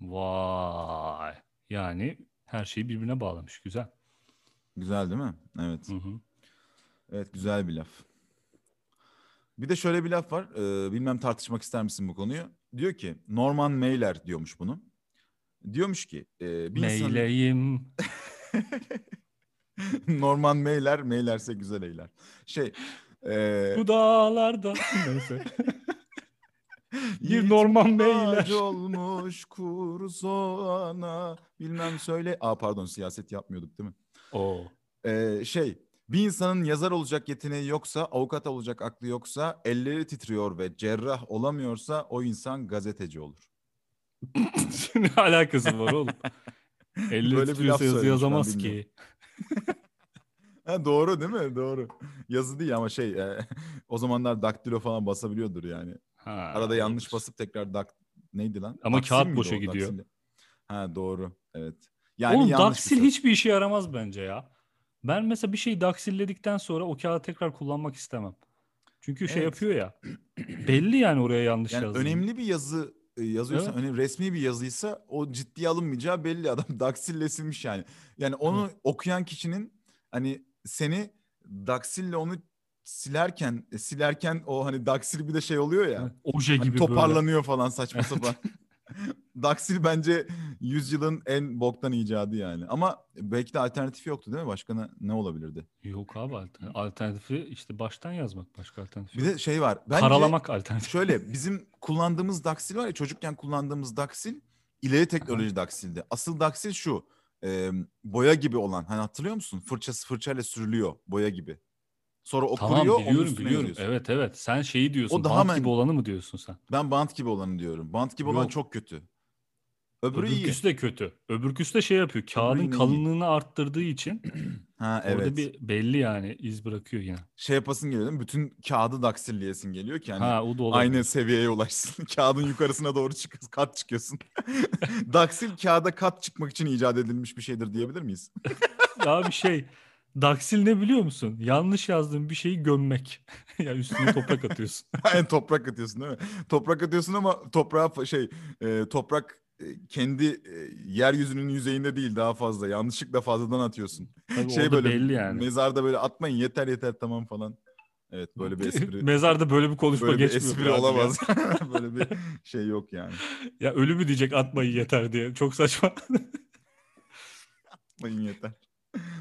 Speaker 1: vay. Yani her şeyi birbirine bağlamış. Güzel.
Speaker 2: Güzel değil mi? Evet.
Speaker 1: Hı hı.
Speaker 2: Evet güzel bir laf. Bir de şöyle bir laf var. e, bilmem tartışmak ister misin bu konuyu? Diyor ki Norman Mailer diyormuş bunu. Diyormuş ki e, bir insanın-
Speaker 1: Meyleyim.
Speaker 2: *laughs* Norman Mailer, Mailerse güzel eyler. Şey e,
Speaker 1: Bu dağlarda. *laughs* Neyse. Bir
Speaker 2: Yiğit
Speaker 1: Norman
Speaker 2: Ağaç
Speaker 1: Meyler. *laughs*
Speaker 2: olmuş kuru soğana bilmem söyle. Aa pardon siyaset yapmıyorduk değil mi?
Speaker 1: Oo.
Speaker 2: Ee, şey bir insanın yazar olacak yeteneği yoksa, avukat olacak aklı yoksa, elleri titriyor ve cerrah olamıyorsa o insan gazeteci olur.
Speaker 1: *laughs* ne alakası var oğlum? Elle
Speaker 2: Böyle bir laf
Speaker 1: titriyorsa yazı
Speaker 2: söylemiş, ben
Speaker 1: yazamaz
Speaker 2: bilmiyorum.
Speaker 1: ki.
Speaker 2: Ha, doğru değil mi? Doğru. Yazı değil ama şey e, *laughs* o zamanlar daktilo falan basabiliyordur yani.
Speaker 1: Ha,
Speaker 2: Arada yanlış
Speaker 1: olabilir.
Speaker 2: basıp tekrar dak neydi lan?
Speaker 1: Ama
Speaker 2: Daksil
Speaker 1: kağıt
Speaker 2: miydi
Speaker 1: boşa
Speaker 2: o?
Speaker 1: gidiyor.
Speaker 2: Daksili. Ha doğru. Evet. Yani
Speaker 1: Oğlum
Speaker 2: yanlış bir
Speaker 1: daksil
Speaker 2: söz.
Speaker 1: hiçbir işe yaramaz bence ya. Ben mesela bir şeyi daksilledikten sonra o kağıdı tekrar kullanmak istemem. Çünkü şey
Speaker 2: Evet.
Speaker 1: yapıyor ya. Belli yani oraya yanlış
Speaker 2: Yani
Speaker 1: yazdığını.
Speaker 2: önemli bir yazı e, yazıyorsa,
Speaker 1: Evet.
Speaker 2: önemli resmi bir yazıysa o ciddiye alınmayacağı belli *laughs* adam daksillesilmiş yani. Yani onu okuyan kişinin hani seni daksille onu silerken e, silerken o hani daksil bir de şey oluyor ya.
Speaker 1: Evet, Oje
Speaker 2: hani
Speaker 1: gibi böyle.
Speaker 2: toparlanıyor falan saçma
Speaker 1: Evet.
Speaker 2: sapan. *laughs* daksil bence yüzyılın en boktan icadı yani. Ama belki de alternatifi yoktu değil mi? Başka ne- ne olabilirdi?
Speaker 1: Yok abi altern- alternatifi işte baştan yazmak başka alternatifi.
Speaker 2: Bir
Speaker 1: yok.
Speaker 2: de şey var. Bence
Speaker 1: Karalamak alternatifi.
Speaker 2: Şöyle bizim kullandığımız daksil var ya çocukken kullandığımız daksil ileri teknoloji daksildi. Asıl daksil şu e, boya gibi olan hani hatırlıyor musun? Fırçası fırçayla sürülüyor boya gibi. Sonra o
Speaker 1: Tamam
Speaker 2: kuruyor onun
Speaker 1: biliyorum
Speaker 2: üstüne
Speaker 1: biliyorum.
Speaker 2: yazıyorsun.
Speaker 1: Evet evet. Sen şeyi diyorsun.
Speaker 2: daha
Speaker 1: bant
Speaker 2: men-
Speaker 1: gibi olanı mı diyorsun sen?
Speaker 2: Ben bant gibi olanı diyorum. Bant gibi olan
Speaker 1: Yok.
Speaker 2: çok kötü. Öbürü iyi.
Speaker 1: Öbürküsü de kötü. Öbürküsü de şey yapıyor.
Speaker 2: yine
Speaker 1: Kağıdın
Speaker 2: iyi.
Speaker 1: kalınlığını arttırdığı için
Speaker 2: Ha
Speaker 1: orada
Speaker 2: evet.
Speaker 1: bir belli yani iz bırakıyor yine.
Speaker 2: Şey yapasın geliyor değil mi? Bütün kağıdı daksilleyesin geliyor ki hani
Speaker 1: Ha o da olabilir.
Speaker 2: aynı seviyeye ulaşsın. *laughs* Kağıdın yukarısına doğru çık kat çıkıyorsun. *laughs* daksil kağıda kat çıkmak için icat edilmiş bir şeydir diyebilir miyiz? *laughs*
Speaker 1: Daha bir şey. Daksil ne biliyor musun? Yanlış yazdığın bir şeyi gömmek. *laughs* ya üstüne toprak atıyorsun.
Speaker 2: Aynen toprak atıyorsun değil mi? Toprak atıyorsun ama toprağa fa- şey e, toprak e, kendi e, yeryüzünün yüzeyinde değil daha fazla. Yanlışlıkla fazladan atıyorsun.
Speaker 1: Tabii
Speaker 2: *laughs* şey
Speaker 1: orada
Speaker 2: böyle
Speaker 1: belli yani.
Speaker 2: mezarda böyle atmayın yeter yeter tamam falan. Evet böyle
Speaker 1: *laughs*
Speaker 2: bir espri
Speaker 1: Mezarda böyle bir konuşma
Speaker 2: böyle bir
Speaker 1: geçmiyor.
Speaker 2: espri
Speaker 1: birader ya.
Speaker 2: olamaz. *laughs* böyle bir şey yok yani.
Speaker 1: Ya. ölü mü diyecek atmayı yeter diye. Çok
Speaker 2: *laughs*
Speaker 1: saçma.
Speaker 2: Atmayın yeter.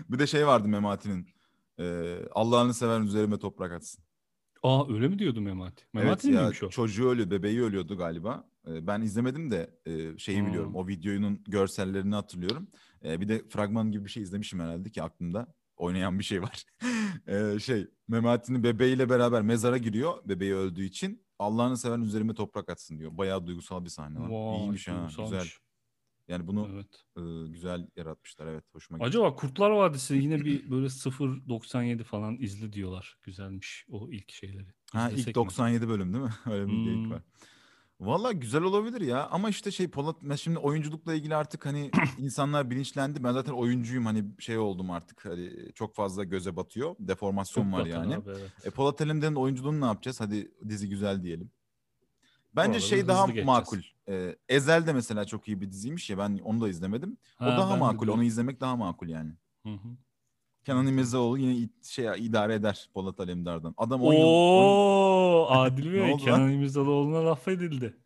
Speaker 2: Bir de şey vardı Memati'nin. E, Allah'ını seven üzerime toprak atsın.
Speaker 1: Aa öyle mi diyordu Memati? Memati
Speaker 2: evet
Speaker 1: miymiş
Speaker 2: ya
Speaker 1: o?
Speaker 2: çocuğu ölü, bebeği ölüyordu galiba. Ee, Ben izlemedim de e, şeyi
Speaker 1: Hmm.
Speaker 2: biliyorum. O videonun görsellerini hatırlıyorum. Ee, Bir de fragman gibi bir şey izlemişim herhalde ki aklımda oynayan bir şey var. *laughs* Ee, Şey Memati'nin bebeğiyle beraber mezara giriyor bebeği öldüğü için. Allah'ını seven üzerime toprak atsın diyor. Bayağı duygusal bir sahne var.
Speaker 1: Vay,
Speaker 2: İyiymiş ha güzel.
Speaker 1: duygusalmış.
Speaker 2: Yani bunu
Speaker 1: Evet.
Speaker 2: e, güzel yaratmışlar. Evet hoşuma gitti.
Speaker 1: Acaba Kurtlar Vadisi yine bir böyle 0.97 falan izli diyorlar. Güzelmiş o ilk şeyleri.
Speaker 2: Ha,
Speaker 1: İzlesek
Speaker 2: ilk
Speaker 1: mi?
Speaker 2: 97 bölüm değil mi? *laughs* Öyle bir
Speaker 1: Hmm.
Speaker 2: geyik var. Valla güzel olabilir ya ama işte şey Polat ben şimdi oyunculukla ilgili
Speaker 1: *coughs*
Speaker 2: artık hani insanlar bilinçlendi. Ben zaten oyuncuyum hani şey oldum artık hani çok fazla göze batıyor. Deformasyon
Speaker 1: Çok
Speaker 2: var
Speaker 1: batar
Speaker 2: yani.
Speaker 1: abi, evet.
Speaker 2: E, Polat Alemdar'ın oyunculuğunu ne yapacağız? Hadi dizi güzel diyelim. Bence
Speaker 1: Oraları
Speaker 2: şey
Speaker 1: hızlı
Speaker 2: daha
Speaker 1: geçeceğiz.
Speaker 2: makul. E, Ezel de mesela çok iyi bir diziymiş ya ben onu da izlemedim. O
Speaker 1: Ha,
Speaker 2: daha
Speaker 1: ben de
Speaker 2: makul.
Speaker 1: duydum.
Speaker 2: Onu izlemek daha makul yani.
Speaker 1: Hı hı.
Speaker 2: Kenan İmirzaoğlu yine it- şey idare eder Polat Alemdar'dan. Adam 10 yıl, on-
Speaker 1: Oo, Adil
Speaker 2: *laughs* Ne
Speaker 1: Bey
Speaker 2: oldu
Speaker 1: Kenan İmirzalıoğlu'na laf edildi.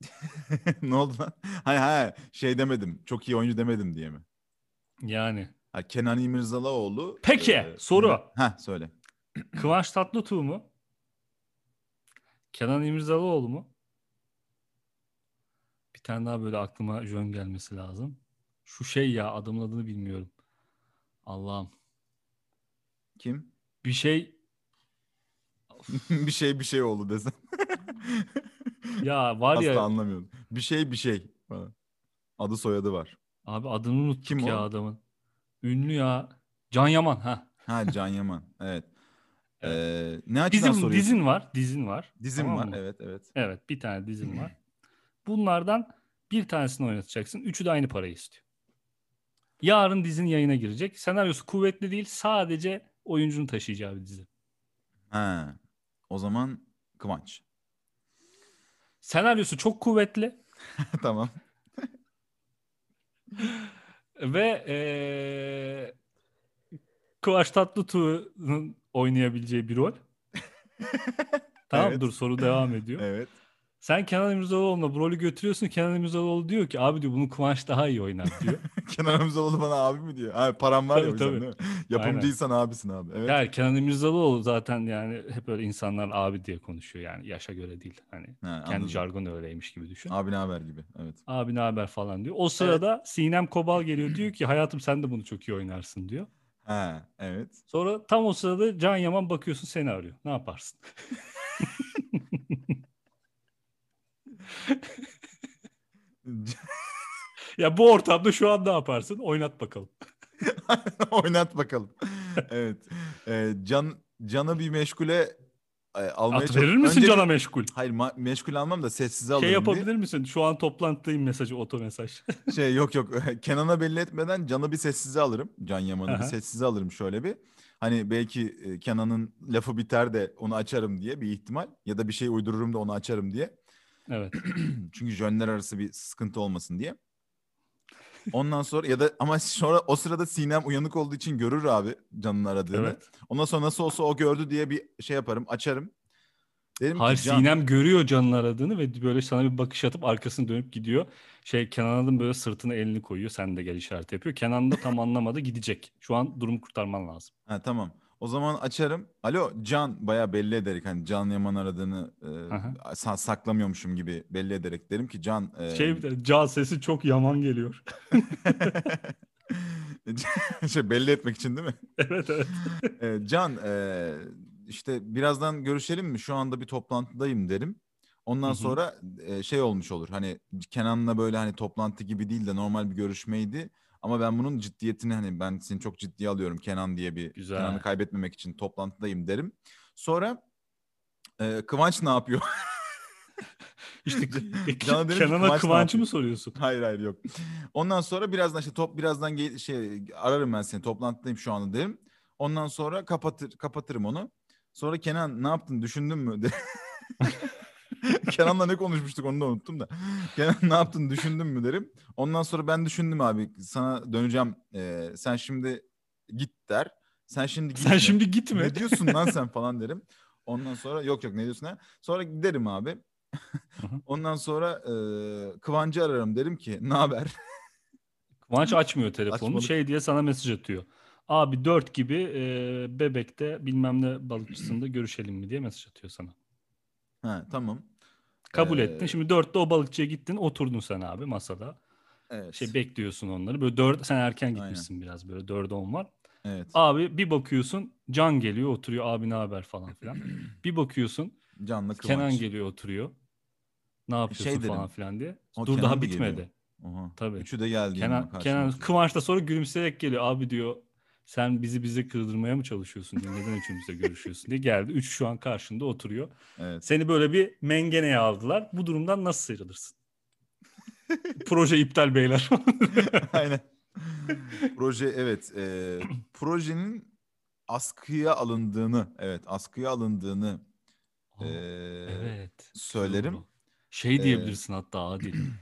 Speaker 2: *laughs* ne oldu lan? Hay hay şey demedim. Çok iyi oyuncu demedim diye mi?
Speaker 1: Yani
Speaker 2: Ha, Kenan İmirzalıoğlu. e,
Speaker 1: Peki, soru.
Speaker 2: Ha söyle.
Speaker 1: Kıvanç Tatlıtuğ mu? Kenan İmirzalıoğlu mu? Bir tane daha böyle aklıma jön gelmesi lazım. Şu şey ya adamın adını bilmiyorum. Allah'ım.
Speaker 2: Kim? *laughs*
Speaker 1: Bir şey
Speaker 2: bir şey bir şey oldu desem.
Speaker 1: ya var
Speaker 2: Asla
Speaker 1: ya
Speaker 2: anlamıyorum. Bir şey bir şey. falan. Adı soyadı var.
Speaker 1: abi adını unuttuk
Speaker 2: Kim o?
Speaker 1: ya adamın. Ünlü ya. Can Yaman ha.
Speaker 2: Ha Can Yaman. *laughs* Evet.
Speaker 1: Evet.
Speaker 2: Ee, ne açıdan
Speaker 1: Dizim,
Speaker 2: soruyorsun?
Speaker 1: dizin var. Dizin var.
Speaker 2: Dizim
Speaker 1: Tamam
Speaker 2: var.
Speaker 1: mı?
Speaker 2: Evet evet.
Speaker 1: Evet bir tane dizim var. Bunlardan bir tanesini oynatacaksın. Üçü de aynı parayı istiyor. Yarın dizinin yayına girecek. Senaryosu kuvvetli değil. Sadece oyuncunu taşıyacağı bir dizi.
Speaker 2: Ha. O zaman Kıvanç. *laughs*
Speaker 1: Senaryosu çok kuvvetli
Speaker 2: tamam.
Speaker 1: ve eee Kıvanç Tatlıtuğ'un oynayabileceği
Speaker 2: *laughs*
Speaker 1: bir rol. tamam
Speaker 2: Evet.
Speaker 1: dur soru devam ediyor.
Speaker 2: Evet. *laughs*
Speaker 1: Sen Kenan İmirzalıoğlu'na bu rolü götürüyorsun. Kenan İmirzalıoğlu diyor ki abi diyor bunu Kıvanç daha iyi oynar
Speaker 2: *laughs*
Speaker 1: diyor.
Speaker 2: Kenan İmirzalıoğlu bana abi mi diyor? Abi param var ya
Speaker 1: Tabii,
Speaker 2: o yüzden
Speaker 1: tabii.
Speaker 2: değil mi? Yapımcıysan abisin abi. Evet.
Speaker 1: Yani Kenan İmirzalıoğlu zaten yani hep öyle insanlar abi diye konuşuyor yani yaşa göre değil. Hani
Speaker 2: Ha,
Speaker 1: kendi
Speaker 2: anladım.
Speaker 1: jargonu öyleymiş gibi düşün.
Speaker 2: Abi ne haber gibi. Evet.
Speaker 1: Abi ne haber falan diyor. O sırada Sinem Kobal geliyor diyor ki hayatım sen de bunu çok iyi oynarsın diyor.
Speaker 2: Ha, evet. *laughs*
Speaker 1: Sonra tam o sırada Can Yaman bakıyorsun seni arıyor. Ne yaparsın? *laughs* ya bu ortamda şu an ne yaparsın? Oynat bakalım.
Speaker 2: Oynat bakalım. evet. Ee, can Can'ı bir meşgule e, almaya
Speaker 1: At
Speaker 2: çalış-
Speaker 1: verir misin
Speaker 2: Önce-
Speaker 1: cana meşgul?
Speaker 2: Hayır ma- meşgul almam da sessize alırım.
Speaker 1: Şey
Speaker 2: bir.
Speaker 1: yapabilir misin? Şu an toplantıdayım mesajı oto mesaj. *laughs*
Speaker 2: Şey yok yok. *laughs* Kenan'a belli etmeden Can'ı bir sessize alırım. Can Yaman'ı bir
Speaker 1: Aha.
Speaker 2: sessize alırım şöyle bir. Hani belki e, Kenan'ın lafı biter de onu açarım diye bir ihtimal. Ya da bir şey uydururum da onu açarım diye.
Speaker 1: evet.
Speaker 2: Çünkü jönler arası bir sıkıntı olmasın diye. Ondan sonra ya da ama sonra o sırada Sinem uyanık olduğu için görür abi Can'ın aradığını.
Speaker 1: Evet.
Speaker 2: Ondan sonra nasıl olsa o gördü diye bir şey yaparım, açarım. Derim
Speaker 1: Hayır
Speaker 2: ki Can,
Speaker 1: Sinem görüyor Can'ın aradığını ve böyle sana bir bakış atıp arkasını dönüp gidiyor. Şey Kenan'ın böyle sırtına elini koyuyor. Sen de gel işareti yapıyor. Kenan da tam anlamadı gidecek. Şu an durumu kurtarman lazım.
Speaker 2: ha tamam. O zaman açarım. Alo Can bayağı belli ederek hani Can Yaman aradığını e,
Speaker 1: Aha.
Speaker 2: sa- saklamıyormuşum gibi belli ederek derim ki Can e,
Speaker 1: Şey *laughs* bir de Can sesi çok yaman geliyor.
Speaker 2: *laughs*
Speaker 1: *laughs*
Speaker 2: şey belli etmek için değil mi?
Speaker 1: evet evet.
Speaker 2: E, Can e, işte birazdan görüşelim mi? Şu anda bir toplantıdayım derim. Ondan
Speaker 1: Hı hı.
Speaker 2: sonra e, şey olmuş olur. Hani Kenan'la böyle hani toplantı gibi değil de normal bir görüşmeydi. Ama ben bunun ciddiyetini hani ben seni çok ciddiye alıyorum Kenan diye bir
Speaker 1: Güzel.
Speaker 2: Kenan'ı kaybetmemek için toplantıdayım derim. Sonra e, Kıvanç ne yapıyor?
Speaker 1: İşte *laughs*
Speaker 2: Can'a dedim ki,
Speaker 1: Kenan'a
Speaker 2: Kıvanç ne
Speaker 1: Kıvanç'ı
Speaker 2: yapıyor?
Speaker 1: mı soruyorsun?
Speaker 2: *laughs* Hayır hayır yok. Ondan sonra birazdan işte top birazdan gel- şey ararım ben seni toplantıdayım şu anda derim. Ondan sonra kapatır kapatırım onu. Sonra Kenan ne yaptın düşündün mü? *laughs* de- Kenan'la ne konuşmuştuk onu da unuttum da. Kenan ne yaptın düşündün mü derim. Ondan sonra ben düşündüm abi sana döneceğim. Ee, sen şimdi git der. Sen şimdi gitme.
Speaker 1: Sen şimdi gitme.
Speaker 2: Ne diyorsun lan sen falan derim. Ondan sonra yok yok ne diyorsun ha? Sonra giderim abi.
Speaker 1: hı.
Speaker 2: Ondan sonra e, Kıvancı ararım derim ki ne haber?
Speaker 1: Kıvanç açmıyor telefonunu.
Speaker 2: Açmalık.
Speaker 1: Şey diye sana mesaj atıyor. Abi 4 gibi e, bebekte bilmem ne balıkçısında görüşelim mi diye mesaj atıyor sana.
Speaker 2: ha tamam.
Speaker 1: Kabul
Speaker 2: Ee,
Speaker 1: ettin. Şimdi 4'te o balıkçıya gittin. Oturdun sen abi masada.
Speaker 2: Evet.
Speaker 1: Şey bekliyorsun onları. Böyle 4 sen erken gitmişsin biraz böyle 4'e 10 var.
Speaker 2: evet.
Speaker 1: Abi bir bakıyorsun Can geliyor oturuyor. Abi ne haber falan
Speaker 2: *clears throat*
Speaker 1: filan. bir bakıyorsun
Speaker 2: Canlı Kıvanç.
Speaker 1: Kenan geliyor oturuyor. Ne yapıyorsun
Speaker 2: Şey derim,
Speaker 1: falan filan diye.
Speaker 2: o
Speaker 1: Dur
Speaker 2: Kenan
Speaker 1: daha
Speaker 2: mı geliyor?
Speaker 1: bitmedi.
Speaker 2: Oha.
Speaker 1: Tabii.
Speaker 2: Üçü de geldi. yanıma
Speaker 1: Kenan,
Speaker 2: karşıma.
Speaker 1: Kenan Kıvanç da sonra gülümseyerek geliyor. Abi diyor sen bizi bize kırdırmaya mı çalışıyorsun? Diyor. Neden üçümüzle görüşüyorsun diye geldi. Üç şu an karşında oturuyor.
Speaker 2: Evet. *laughs*
Speaker 1: Seni böyle bir mengeneye aldılar. Bu durumdan nasıl
Speaker 2: *laughs*
Speaker 1: sıyrılırsın? Proje iptal beyler.
Speaker 2: Aynen. Proje evet. e, projenin askıya alındığını evet askıya alındığını
Speaker 1: *laughs*
Speaker 2: e,
Speaker 1: Oh, evet.
Speaker 2: söylerim. Ee,
Speaker 1: Doğru. Şey diyebilirsin hatta Adil.
Speaker 2: *clears throat*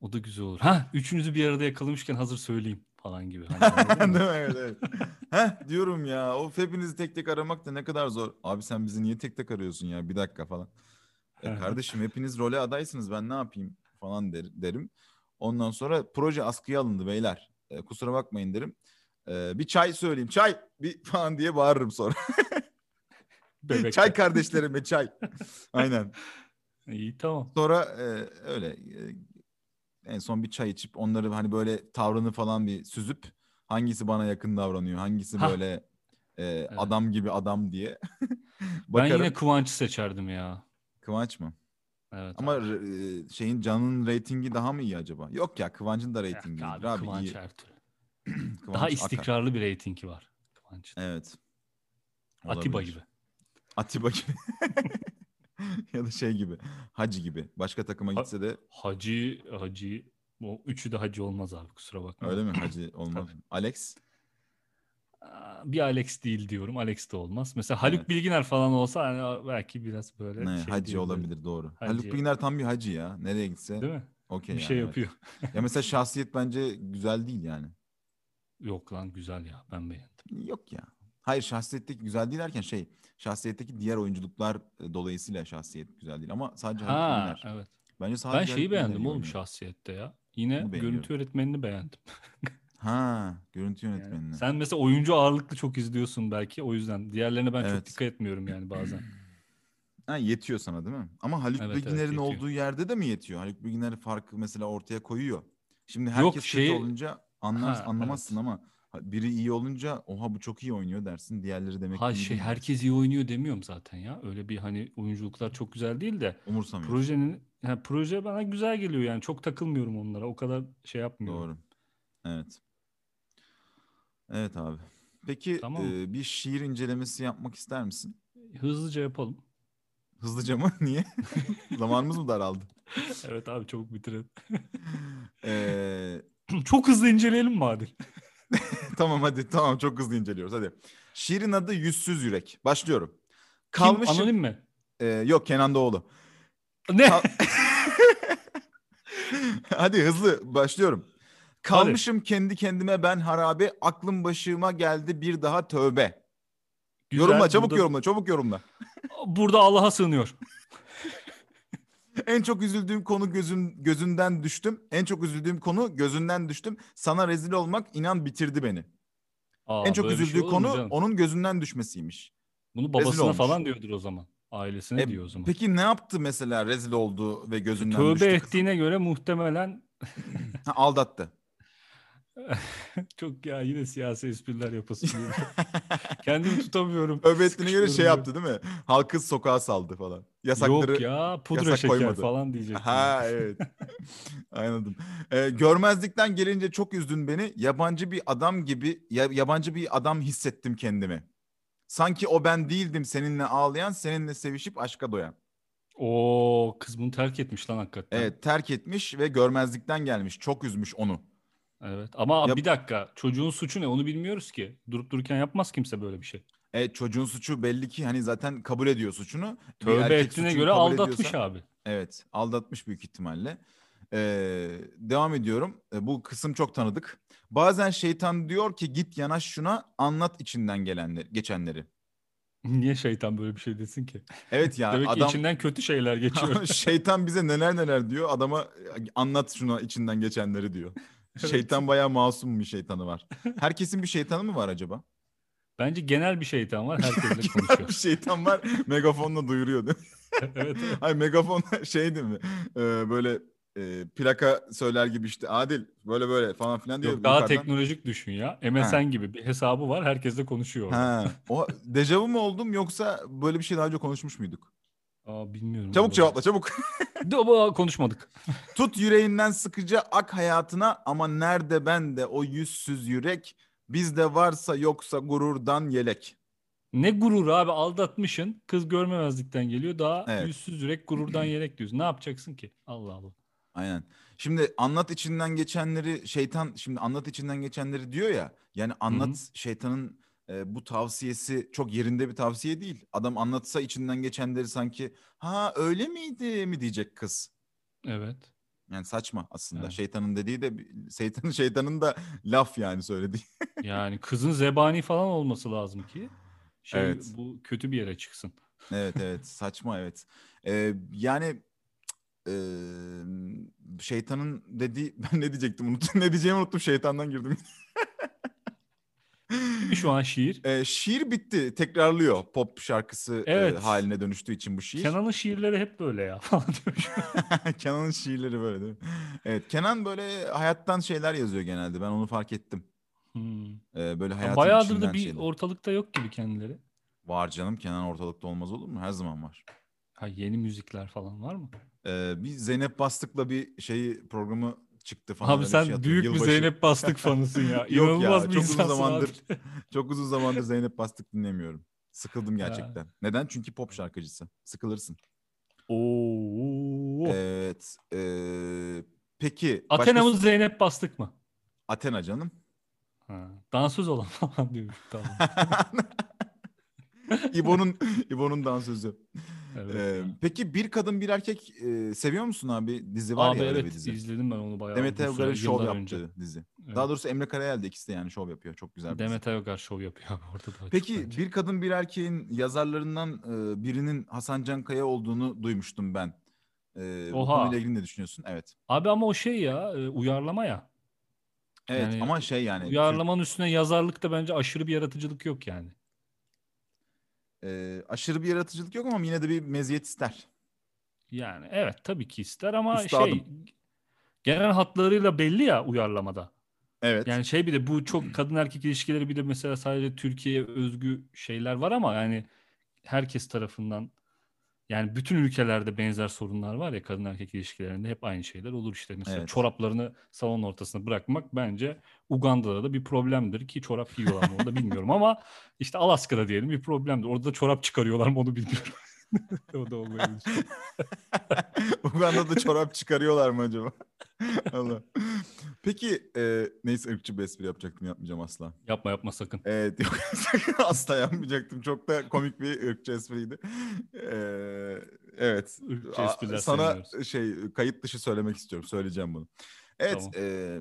Speaker 1: O da güzel olur. Ha üçünüzü bir arada yakalamışken hazır söyleyeyim falan gibi.
Speaker 2: *laughs*
Speaker 1: Hani anladın
Speaker 2: Değil
Speaker 1: mı?
Speaker 2: mi? Evet, evet. Heh, diyorum ya. O hepinizi tek tek aramak da ne kadar zor. Abi sen bizi niye tek tek arıyorsun ya? Bir dakika falan. E kardeşim hepiniz role adaysınız. Ben ne yapayım falan der- derim. Ondan sonra proje askıya alındı beyler. E, kusura bakmayın derim. E, bir çay söyleyeyim. Çay bir *laughs* falan diye bağırırım sonra.
Speaker 1: Bebekler.
Speaker 2: çay kardeşlerime çay. Aynen.
Speaker 1: İyi tamam.
Speaker 2: Sonra e, öyle e, en son bir çay içip onları hani böyle tavrını falan bir süzüp hangisi bana yakın davranıyor, hangisi
Speaker 1: Hah.
Speaker 2: böyle e, adam gibi adam diye *laughs*
Speaker 1: Ben
Speaker 2: bakarım.
Speaker 1: yine Kıvanç'ı seçerdim ya.
Speaker 2: Kıvanç mı?
Speaker 1: Evet.
Speaker 2: Ama e, şeyin Can'ın reytingi daha mı iyi acaba? Yok ya Kıvanç'ın da
Speaker 1: Ya
Speaker 2: reytingi iyidir
Speaker 1: Eh, abi,
Speaker 2: abi.
Speaker 1: Kıvanç
Speaker 2: iyi.
Speaker 1: Ertuğrul.
Speaker 2: Kıvanç
Speaker 1: Daha
Speaker 2: akar.
Speaker 1: istikrarlı bir reytingi var. Kıvanç.
Speaker 2: Evet.
Speaker 1: Atiba
Speaker 2: Olabilir.
Speaker 1: gibi. *laughs*
Speaker 2: Atiba gibi. ya da şey gibi. Hacı gibi. Başka takıma
Speaker 1: Ha-
Speaker 2: gitse de
Speaker 1: Hacı, Hacı. O üçü de Hacı olmaz abi kusura bakma.
Speaker 2: öyle mi? Hacı olmaz. Alex?
Speaker 1: Aa, Bir Alex değil diyorum. Alex de olmaz. Mesela Haluk
Speaker 2: Evet.
Speaker 1: Bilginer falan olsa hani belki biraz böyle
Speaker 2: Ne,
Speaker 1: şey
Speaker 2: hacı
Speaker 1: diyebilirim.
Speaker 2: olabilir doğru.
Speaker 1: Hacı.
Speaker 2: Haluk Bilginer tam bir hacı ya. Nereye gitse
Speaker 1: Değil mi?
Speaker 2: okey
Speaker 1: bir
Speaker 2: yani,
Speaker 1: şey
Speaker 2: evet.
Speaker 1: yapıyor.
Speaker 2: Ya mesela şahsiyet bence güzel değil yani.
Speaker 1: Yok lan güzel ya ben beğendim.
Speaker 2: Yok ya. Hayır şahsiyetteki güzel değil derken şey şahsiyetteki diğer oyunculuklar e, dolayısıyla şahsiyet güzel değil ama sadece Haluk
Speaker 1: Ha
Speaker 2: Bilginer.
Speaker 1: evet.
Speaker 2: Bence
Speaker 1: Ben
Speaker 2: sadece Haluk
Speaker 1: şeyi
Speaker 2: Bilginer
Speaker 1: beğendim
Speaker 2: iyi
Speaker 1: oğlum
Speaker 2: oynuyor.
Speaker 1: şahsiyette ya. Yine
Speaker 2: Bunu
Speaker 1: görüntü
Speaker 2: beğeniyorum.
Speaker 1: yönetmenini beğendim.
Speaker 2: Ha, görüntü
Speaker 1: Yani
Speaker 2: yönetmenini.
Speaker 1: sen mesela oyuncu ağırlıklı çok izliyorsun belki o yüzden. Diğerlerine ben çok
Speaker 2: Evet.
Speaker 1: dikkat etmiyorum yani
Speaker 2: *clears throat*
Speaker 1: bazen.
Speaker 2: Ha, yetiyor sana değil mi? Ama Haluk
Speaker 1: Evet, evet,
Speaker 2: Bilginer'in
Speaker 1: yetiyor.
Speaker 2: olduğu yerde de mi yetiyor? Haluk Bilginer farkı mesela ortaya koyuyor. Şimdi herkes kötü
Speaker 1: şey-
Speaker 2: olunca anlar,
Speaker 1: Ha,
Speaker 2: anlamazsın
Speaker 1: evet.
Speaker 2: ama ha- biri iyi olunca oha bu çok iyi oynuyor dersin. Diğerleri demek
Speaker 1: Ha
Speaker 2: ki iyi
Speaker 1: şey
Speaker 2: değil.
Speaker 1: herkes iyi oynuyor demiyorum zaten ya. Öyle bir hani oyunculuklar çok güzel değil de
Speaker 2: Umursamıyor.
Speaker 1: projenin ha, proje bana güzel geliyor yani. Çok takılmıyorum onlara. O kadar şey yapmıyorum.
Speaker 2: Doğru. Evet. Evet abi. Peki
Speaker 1: Tamam.
Speaker 2: e, bir şiir incelemesi yapmak ister misin?
Speaker 1: Hızlıca yapalım. *laughs*
Speaker 2: Hızlıca mı? *laughs* Niye? Zamanımız mı daraldı?
Speaker 1: Evet abi çabuk bitirelim. *clears throat*
Speaker 2: Eee
Speaker 1: çok hızlı inceleyelim mi Adil?
Speaker 2: Tamam hadi tamam çok hızlı inceliyoruz hadi. Şiirin adı Yüzsüz Yürek. Başlıyorum. Kalmışım.
Speaker 1: Kim? Anonim mi?
Speaker 2: Ee, yok Kenan Doğulu. *laughs*
Speaker 1: Ne?
Speaker 2: Kal- hadi hızlı başlıyorum. Kalmışım kendi kendime ben harabe. Aklım başıma geldi bir daha tövbe.
Speaker 1: Güzel,
Speaker 2: yorumla çabuk
Speaker 1: burada-
Speaker 2: yorumla çabuk yorumla.
Speaker 1: Burada Allah'a sığınıyor.
Speaker 2: En çok üzüldüğüm konu gözüm gözünden düştüm. En çok üzüldüğüm konu gözünden düştüm. Sana rezil olmak inan bitirdi beni.
Speaker 1: Aa,
Speaker 2: en çok
Speaker 1: böyle bir şey
Speaker 2: üzüldüğü
Speaker 1: olur mu
Speaker 2: konu
Speaker 1: canım?
Speaker 2: onun gözünden düşmesiymiş.
Speaker 1: Bunu
Speaker 2: rezil
Speaker 1: babasına
Speaker 2: olmuş.
Speaker 1: falan diyordur o zaman. Ailesine
Speaker 2: E,
Speaker 1: diyor o zaman.
Speaker 2: Peki ne yaptı mesela rezil oldu ve gözünden
Speaker 1: Tövbe
Speaker 2: düştü? kız?
Speaker 1: ettiğine göre muhtemelen
Speaker 2: Ha, aldattı.
Speaker 1: çok ya yine siyasi espriler yapasın
Speaker 2: *laughs*
Speaker 1: diyor. Kendimi tutamıyorum.
Speaker 2: Tövbe ettiğine göre
Speaker 1: Sıkışıyorum
Speaker 2: şey
Speaker 1: ya.
Speaker 2: yaptı değil mi? Halkı sokağa saldı falan. Yasakları.
Speaker 1: Yok ya pudra
Speaker 2: yasak
Speaker 1: şeker
Speaker 2: koymadı.
Speaker 1: falan diyecek.
Speaker 2: Ha
Speaker 1: şey
Speaker 2: evet.
Speaker 1: *laughs*
Speaker 2: Anladım. Ee, görmezlikten gelince çok üzdün beni. Yabancı bir adam gibi, ya- yabancı bir adam hissettim kendimi. Sanki o ben değildim seninle ağlayan, seninle sevişip aşka doyan.
Speaker 1: O kız bunu terk etmiş lan hakikaten.
Speaker 2: Evet, terk etmiş ve görmezlikten gelmiş. Çok üzmüş onu.
Speaker 1: Evet. Ama
Speaker 2: Yap-
Speaker 1: bir dakika çocuğun suçu ne onu bilmiyoruz ki. Durup dururken yapmaz kimse böyle bir şey.
Speaker 2: Evet, E, çocuğun suçu belli ki hani zaten kabul ediyor suçunu. Bir
Speaker 1: Tövbe
Speaker 2: erkek
Speaker 1: ettiğine
Speaker 2: suçunu
Speaker 1: göre
Speaker 2: kabul
Speaker 1: aldatmış
Speaker 2: ediyorsa-
Speaker 1: abi. *laughs*
Speaker 2: Evet, aldatmış büyük ihtimalle. Ee, devam ediyorum. Ee, bu kısım çok tanıdık. Bazen şeytan diyor ki git yanaş şuna anlat içinden gelenleri, geçenleri.
Speaker 1: Niye şeytan böyle bir şey desin ki?
Speaker 2: Evet ya
Speaker 1: Demek ki
Speaker 2: adam *laughs*
Speaker 1: içinden kötü şeyler geçiyor. *laughs*
Speaker 2: şeytan bize neler neler diyor. Adama "E, anlat şuna içinden geçenleri diyor.
Speaker 1: *laughs* Evet.
Speaker 2: Şeytan bayağı masum bir şeytanı var. Herkesin bir şeytanı mı var acaba?
Speaker 1: Bence genel bir şeytan var. Herkesle
Speaker 2: bir
Speaker 1: konuşuyor.
Speaker 2: *laughs* şeytan var megafonla duyuruyor değil mi?
Speaker 1: evet, evet.
Speaker 2: Hayır megafon *laughs* şey değil mi? Ee, böyle e, plaka söyler gibi işte Adil böyle böyle falan filan diyor.
Speaker 1: Yok daha
Speaker 2: yukarıdan.
Speaker 1: teknolojik düşün ya. MSN gibi bir hesabı var. Herkesle konuşuyor. orada.
Speaker 2: Ha, o dejavu mu oldum yoksa böyle bir şey daha önce konuşmuş muyduk?
Speaker 1: Aa bilmiyorum.
Speaker 2: Çabuk
Speaker 1: Bu-
Speaker 2: cevapla çabuk. *laughs*
Speaker 1: De- ama konuşmadık.
Speaker 2: Tut yüreğinden sıkıca ak hayatına ama nerede ben de o yüzsüz yürek bizde varsa yoksa gururdan yelek.
Speaker 1: Ne gurur abi aldatmışın. Kız görmemezlikten geliyor. Daha
Speaker 2: Evet.
Speaker 1: yüzsüz yürek gururdan yelek diyorsun. Ne yapacaksın ki? Allah Allah.
Speaker 2: Aynen. Şimdi anlat içinden geçenleri şeytan şimdi anlat içinden geçenleri diyor ya. Yani anlat şeytanın e, bu tavsiyesi çok yerinde bir tavsiye değil. Adam anlatsa içinden geçenleri sanki ha öyle miydi mi diyecek kız.
Speaker 1: Evet.
Speaker 2: Yani saçma aslında.
Speaker 1: Evet.
Speaker 2: Şeytanın dediği de bir- *laughs* şeytanın şeytanın da laf yani söylediği. *laughs*
Speaker 1: Yani kızın zebani falan olması lazım ki şey
Speaker 2: Evet.
Speaker 1: bu kötü bir yere çıksın.
Speaker 2: Evet evet saçma evet. Ee, yani e, şeytanın dediği *laughs* ben ne diyecektim unuttum ne diyeceğimi unuttum şeytandan girdim. *laughs*
Speaker 1: Şu an şiir.
Speaker 2: Ee, şiir bitti tekrarlıyor pop şarkısı e,
Speaker 1: Evet.
Speaker 2: haline dönüştüğü için bu şiir.
Speaker 1: Kenan'ın şiirleri hep böyle ya *laughs* falan demiş.
Speaker 2: *laughs* Kenan'ın şiirleri böyle değil mi? Evet Kenan böyle hayattan şeyler yazıyor genelde ben onu fark ettim.
Speaker 1: Hmm.
Speaker 2: Ee, böyle hayatın
Speaker 1: Bayağıdır
Speaker 2: içinden
Speaker 1: da bir
Speaker 2: şeyler.
Speaker 1: ortalıkta yok gibi kendileri.
Speaker 2: Var canım Kenan ortalıkta olmaz olur mu? Her zaman var.
Speaker 1: Ha yeni müzikler falan var mı?
Speaker 2: Ee, bir Zeynep Bastık'la bir şeyi programı çıktı falan.
Speaker 1: abi
Speaker 2: öyle
Speaker 1: sen
Speaker 2: şey yaptı.
Speaker 1: büyük bir
Speaker 2: Yılbaşı.
Speaker 1: Zeynep Bastık fanısın ya.
Speaker 2: ya,
Speaker 1: İnanılmaz bir
Speaker 2: çok uzun
Speaker 1: insansın abi.
Speaker 2: zamandır- *laughs* Çok uzun zamandır Zeynep Bastık dinlemiyorum. Sıkıldım
Speaker 1: Ya.
Speaker 2: gerçekten. Neden? Çünkü pop şarkıcısı. Sıkılırsın.
Speaker 1: *laughs* Oo.
Speaker 2: Evet. ee, peki. başka-
Speaker 1: Athena'mız Zeynep Bastık mı?
Speaker 2: Athena canım. *laughs*
Speaker 1: Ha. Dansöz olan *laughs* falan diyormuş. Tamam.
Speaker 2: İbo'nun İbo'nun dansözü.
Speaker 1: Evet.
Speaker 2: Ee, peki bir kadın bir erkek ee, seviyor musun abi? Dizi var
Speaker 1: Abi
Speaker 2: ya öyle bir
Speaker 1: evet
Speaker 2: dizi.
Speaker 1: izledim ben onu bayağı.
Speaker 2: Demet
Speaker 1: uzun Ee, süre,
Speaker 2: Evgar'ın şov
Speaker 1: yıllar
Speaker 2: yaptığı
Speaker 1: önce.
Speaker 2: dizi.
Speaker 1: Evet.
Speaker 2: Daha doğrusu Emre Karayel de ikisi de yani şov yapıyor. Çok güzel bir dizi.
Speaker 1: Demet Evgar şov yapıyor abi orada daha çok
Speaker 2: Peki
Speaker 1: bence.
Speaker 2: bir kadın bir erkeğin yazarlarından e, birinin Hasan Can Kaya olduğunu duymuştum ben. E, bu
Speaker 1: Oha.
Speaker 2: konuyla ilgili ne düşünüyorsun? Evet.
Speaker 1: Abi ama o şey ya e, uyarlama ya.
Speaker 2: Evet
Speaker 1: Yani
Speaker 2: ama şey yani
Speaker 1: Uyarlamanın üstüne yazarlıkta bence aşırı bir yaratıcılık yok yani.
Speaker 2: Türk- e, aşırı bir yaratıcılık yok ama yine de bir meziyet ister.
Speaker 1: Yani evet tabii ki ister ama şey
Speaker 2: Üstadım.
Speaker 1: genel hatlarıyla belli ya uyarlamada.
Speaker 2: Evet. *laughs*
Speaker 1: Yani şey bir de bu çok kadın erkek ilişkileri bir de mesela sadece Türkiye'ye özgü şeyler var ama yani herkes tarafından yani bütün ülkelerde benzer sorunlar var ya kadın erkek ilişkilerinde hep aynı şeyler olur işte. Mesela
Speaker 2: Evet.
Speaker 1: çoraplarını salonun ortasına bırakmak bence Uganda'da da bir problemdir ki çorap giyiyorlar mı onu da bilmiyorum ama işte Alaska'da diyelim bir problemdir. Orada da çorap çıkarıyorlar mı onu bilmiyorum. *laughs* o da olmayabilir.
Speaker 2: Uganda'da çorap çıkarıyorlar mı acaba? *laughs* Allah. Peki e, neyse ırkçı bir espri yapacaktım yapmayacağım asla.
Speaker 1: Yapma yapma sakın.
Speaker 2: Evet yok *laughs* asla yapmayacaktım. Çok da komik bir ırkçı espriydi. Ee, evet.
Speaker 1: Irkçı
Speaker 2: A-
Speaker 1: espriler
Speaker 2: Sana
Speaker 1: sevmiyoruz.
Speaker 2: şey kayıt dışı söylemek istiyorum. Söyleyeceğim bunu. Evet.
Speaker 1: Tamam.
Speaker 2: e, e,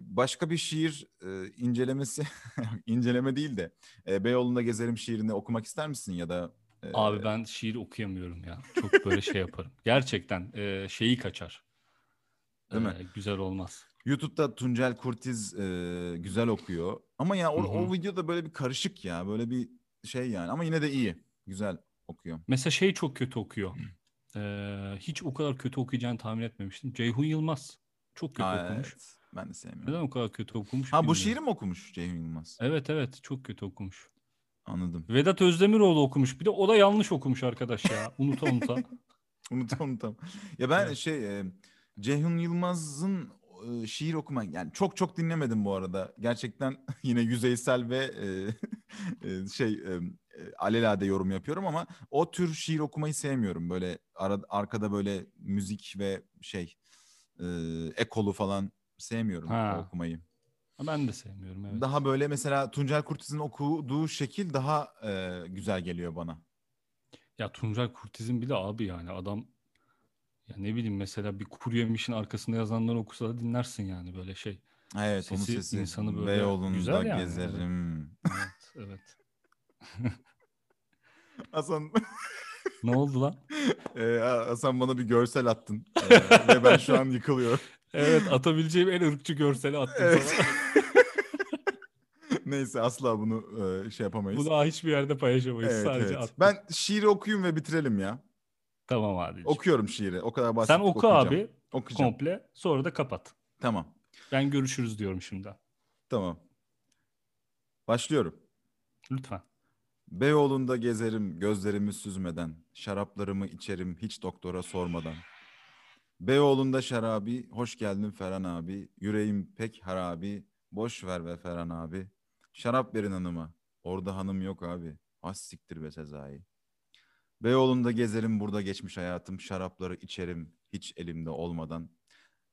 Speaker 2: başka bir şiir e, incelemesi *laughs* inceleme değil de e, Beyoğlu'nda gezerim şiirini okumak ister misin ya da e,
Speaker 1: Abi ben şiir okuyamıyorum ya. Çok böyle
Speaker 2: *laughs*
Speaker 1: şey yaparım. Gerçekten e, şeyi kaçar.
Speaker 2: Değil mi?
Speaker 1: E, güzel olmaz.
Speaker 2: YouTube'da Tuncel Kurtiz e, güzel okuyor. Ama ya o,
Speaker 1: Hı hı.
Speaker 2: o videoda böyle bir karışık ya. Böyle bir şey yani. Ama yine de iyi. Güzel okuyor.
Speaker 1: Mesela şey çok kötü okuyor.
Speaker 2: Hmm.
Speaker 1: E, hiç o kadar kötü okuyacağını tahmin etmemiştim. Ceyhun Yılmaz çok kötü
Speaker 2: Aa,
Speaker 1: okumuş.
Speaker 2: evet. Ben de sevmiyorum.
Speaker 1: Neden o kadar kötü okumuş
Speaker 2: Ha bu
Speaker 1: bilmiyorum.
Speaker 2: şiiri mi okumuş Ceyhun Yılmaz?
Speaker 1: Evet evet çok kötü okumuş.
Speaker 2: Anladım. *laughs*
Speaker 1: Vedat Özdemiroğlu okumuş. Bir de o da yanlış okumuş arkadaş ya. Unuta
Speaker 2: *laughs*
Speaker 1: unuta.
Speaker 2: Unutam unutam. Ya ben
Speaker 1: Evet.
Speaker 2: şey e, Ceyhun Yılmaz'ın e, şiir okuma yani çok çok dinlemedim bu arada. Gerçekten *laughs* yine yüzeysel ve e, *laughs* e, şey e, e, alelade yorum yapıyorum ama o tür şiir okumayı sevmiyorum. Böyle ara- arkada böyle müzik ve şey e, ekolu falan sevmiyorum
Speaker 1: Ha.
Speaker 2: o okumayı.
Speaker 1: Ha, ben de sevmiyorum evet.
Speaker 2: Daha böyle mesela Tuncel Kurtiz'in okuduğu şekil daha e, güzel geliyor bana.
Speaker 1: Ya Tuncay Kurtiz'in bir de abi yani adam ya ne bileyim mesela bir kuru yemişin arkasında yazanları okusa da dinlersin yani böyle şey.
Speaker 2: Evet onun
Speaker 1: Sesi
Speaker 2: sesi
Speaker 1: insanı böyle
Speaker 2: Beyoğlu'nda
Speaker 1: güzel yani,
Speaker 2: gezerim. *laughs*
Speaker 1: Evet evet.
Speaker 2: Hasan, *laughs*
Speaker 1: Ne oldu lan?
Speaker 2: Ee, Hasan bana bir görsel *laughs* attın. Ee, ve ben şu an yıkılıyorum.
Speaker 1: Evet atabileceğim en ırkçı görseli attım
Speaker 2: *laughs* Evet.
Speaker 1: sana.
Speaker 2: *laughs* Neyse asla bunu e, şey yapamayız.
Speaker 1: Bunu daha hiçbir yerde paylaşamayız.
Speaker 2: evet,
Speaker 1: Sadece
Speaker 2: evet.
Speaker 1: attım.
Speaker 2: Ben şiiri okuyayım ve bitirelim ya.
Speaker 1: Tamam abi.
Speaker 2: Okuyorum şiiri. O kadar
Speaker 1: Sen
Speaker 2: bahsettik.
Speaker 1: oku
Speaker 2: okuyacağım.
Speaker 1: abi
Speaker 2: Okuyacağım.
Speaker 1: komple sonra da kapat.
Speaker 2: Tamam.
Speaker 1: Ben görüşürüz diyorum şimdi.
Speaker 2: Tamam. Başlıyorum.
Speaker 1: Lütfen.
Speaker 2: Beyoğlu'nda gezerim gözlerimi süzmeden, şaraplarımı içerim hiç doktora sormadan. Beyoğlu'nda şarabi, hoş geldin Ferhan abi, yüreğim pek harabi, boş ver be Ferhan abi. Şarap verin hanıma, orada hanım yok abi, az siktir be Sezai. Beyoğlu'nda gezerim burada geçmiş hayatım, şarapları içerim hiç elimde olmadan.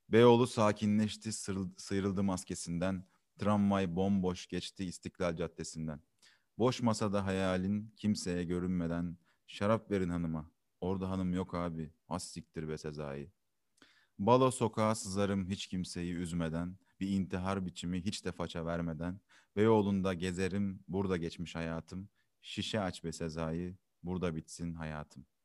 Speaker 2: Beyoğlu sakinleşti, sırıl- sıyrıldı maskesinden, tramvay bomboş geçti İstiklal Caddesi'nden. Boş masada hayalin kimseye görünmeden şarap verin hanıma. Orada hanım yok abi. Az siktir be Sezai. Balo sokağa sızarım hiç kimseyi üzmeden. Bir intihar biçimi hiç de faça vermeden. Beyoğlu'nda gezerim burada geçmiş hayatım. Şişe aç be Sezai. Burada bitsin hayatım.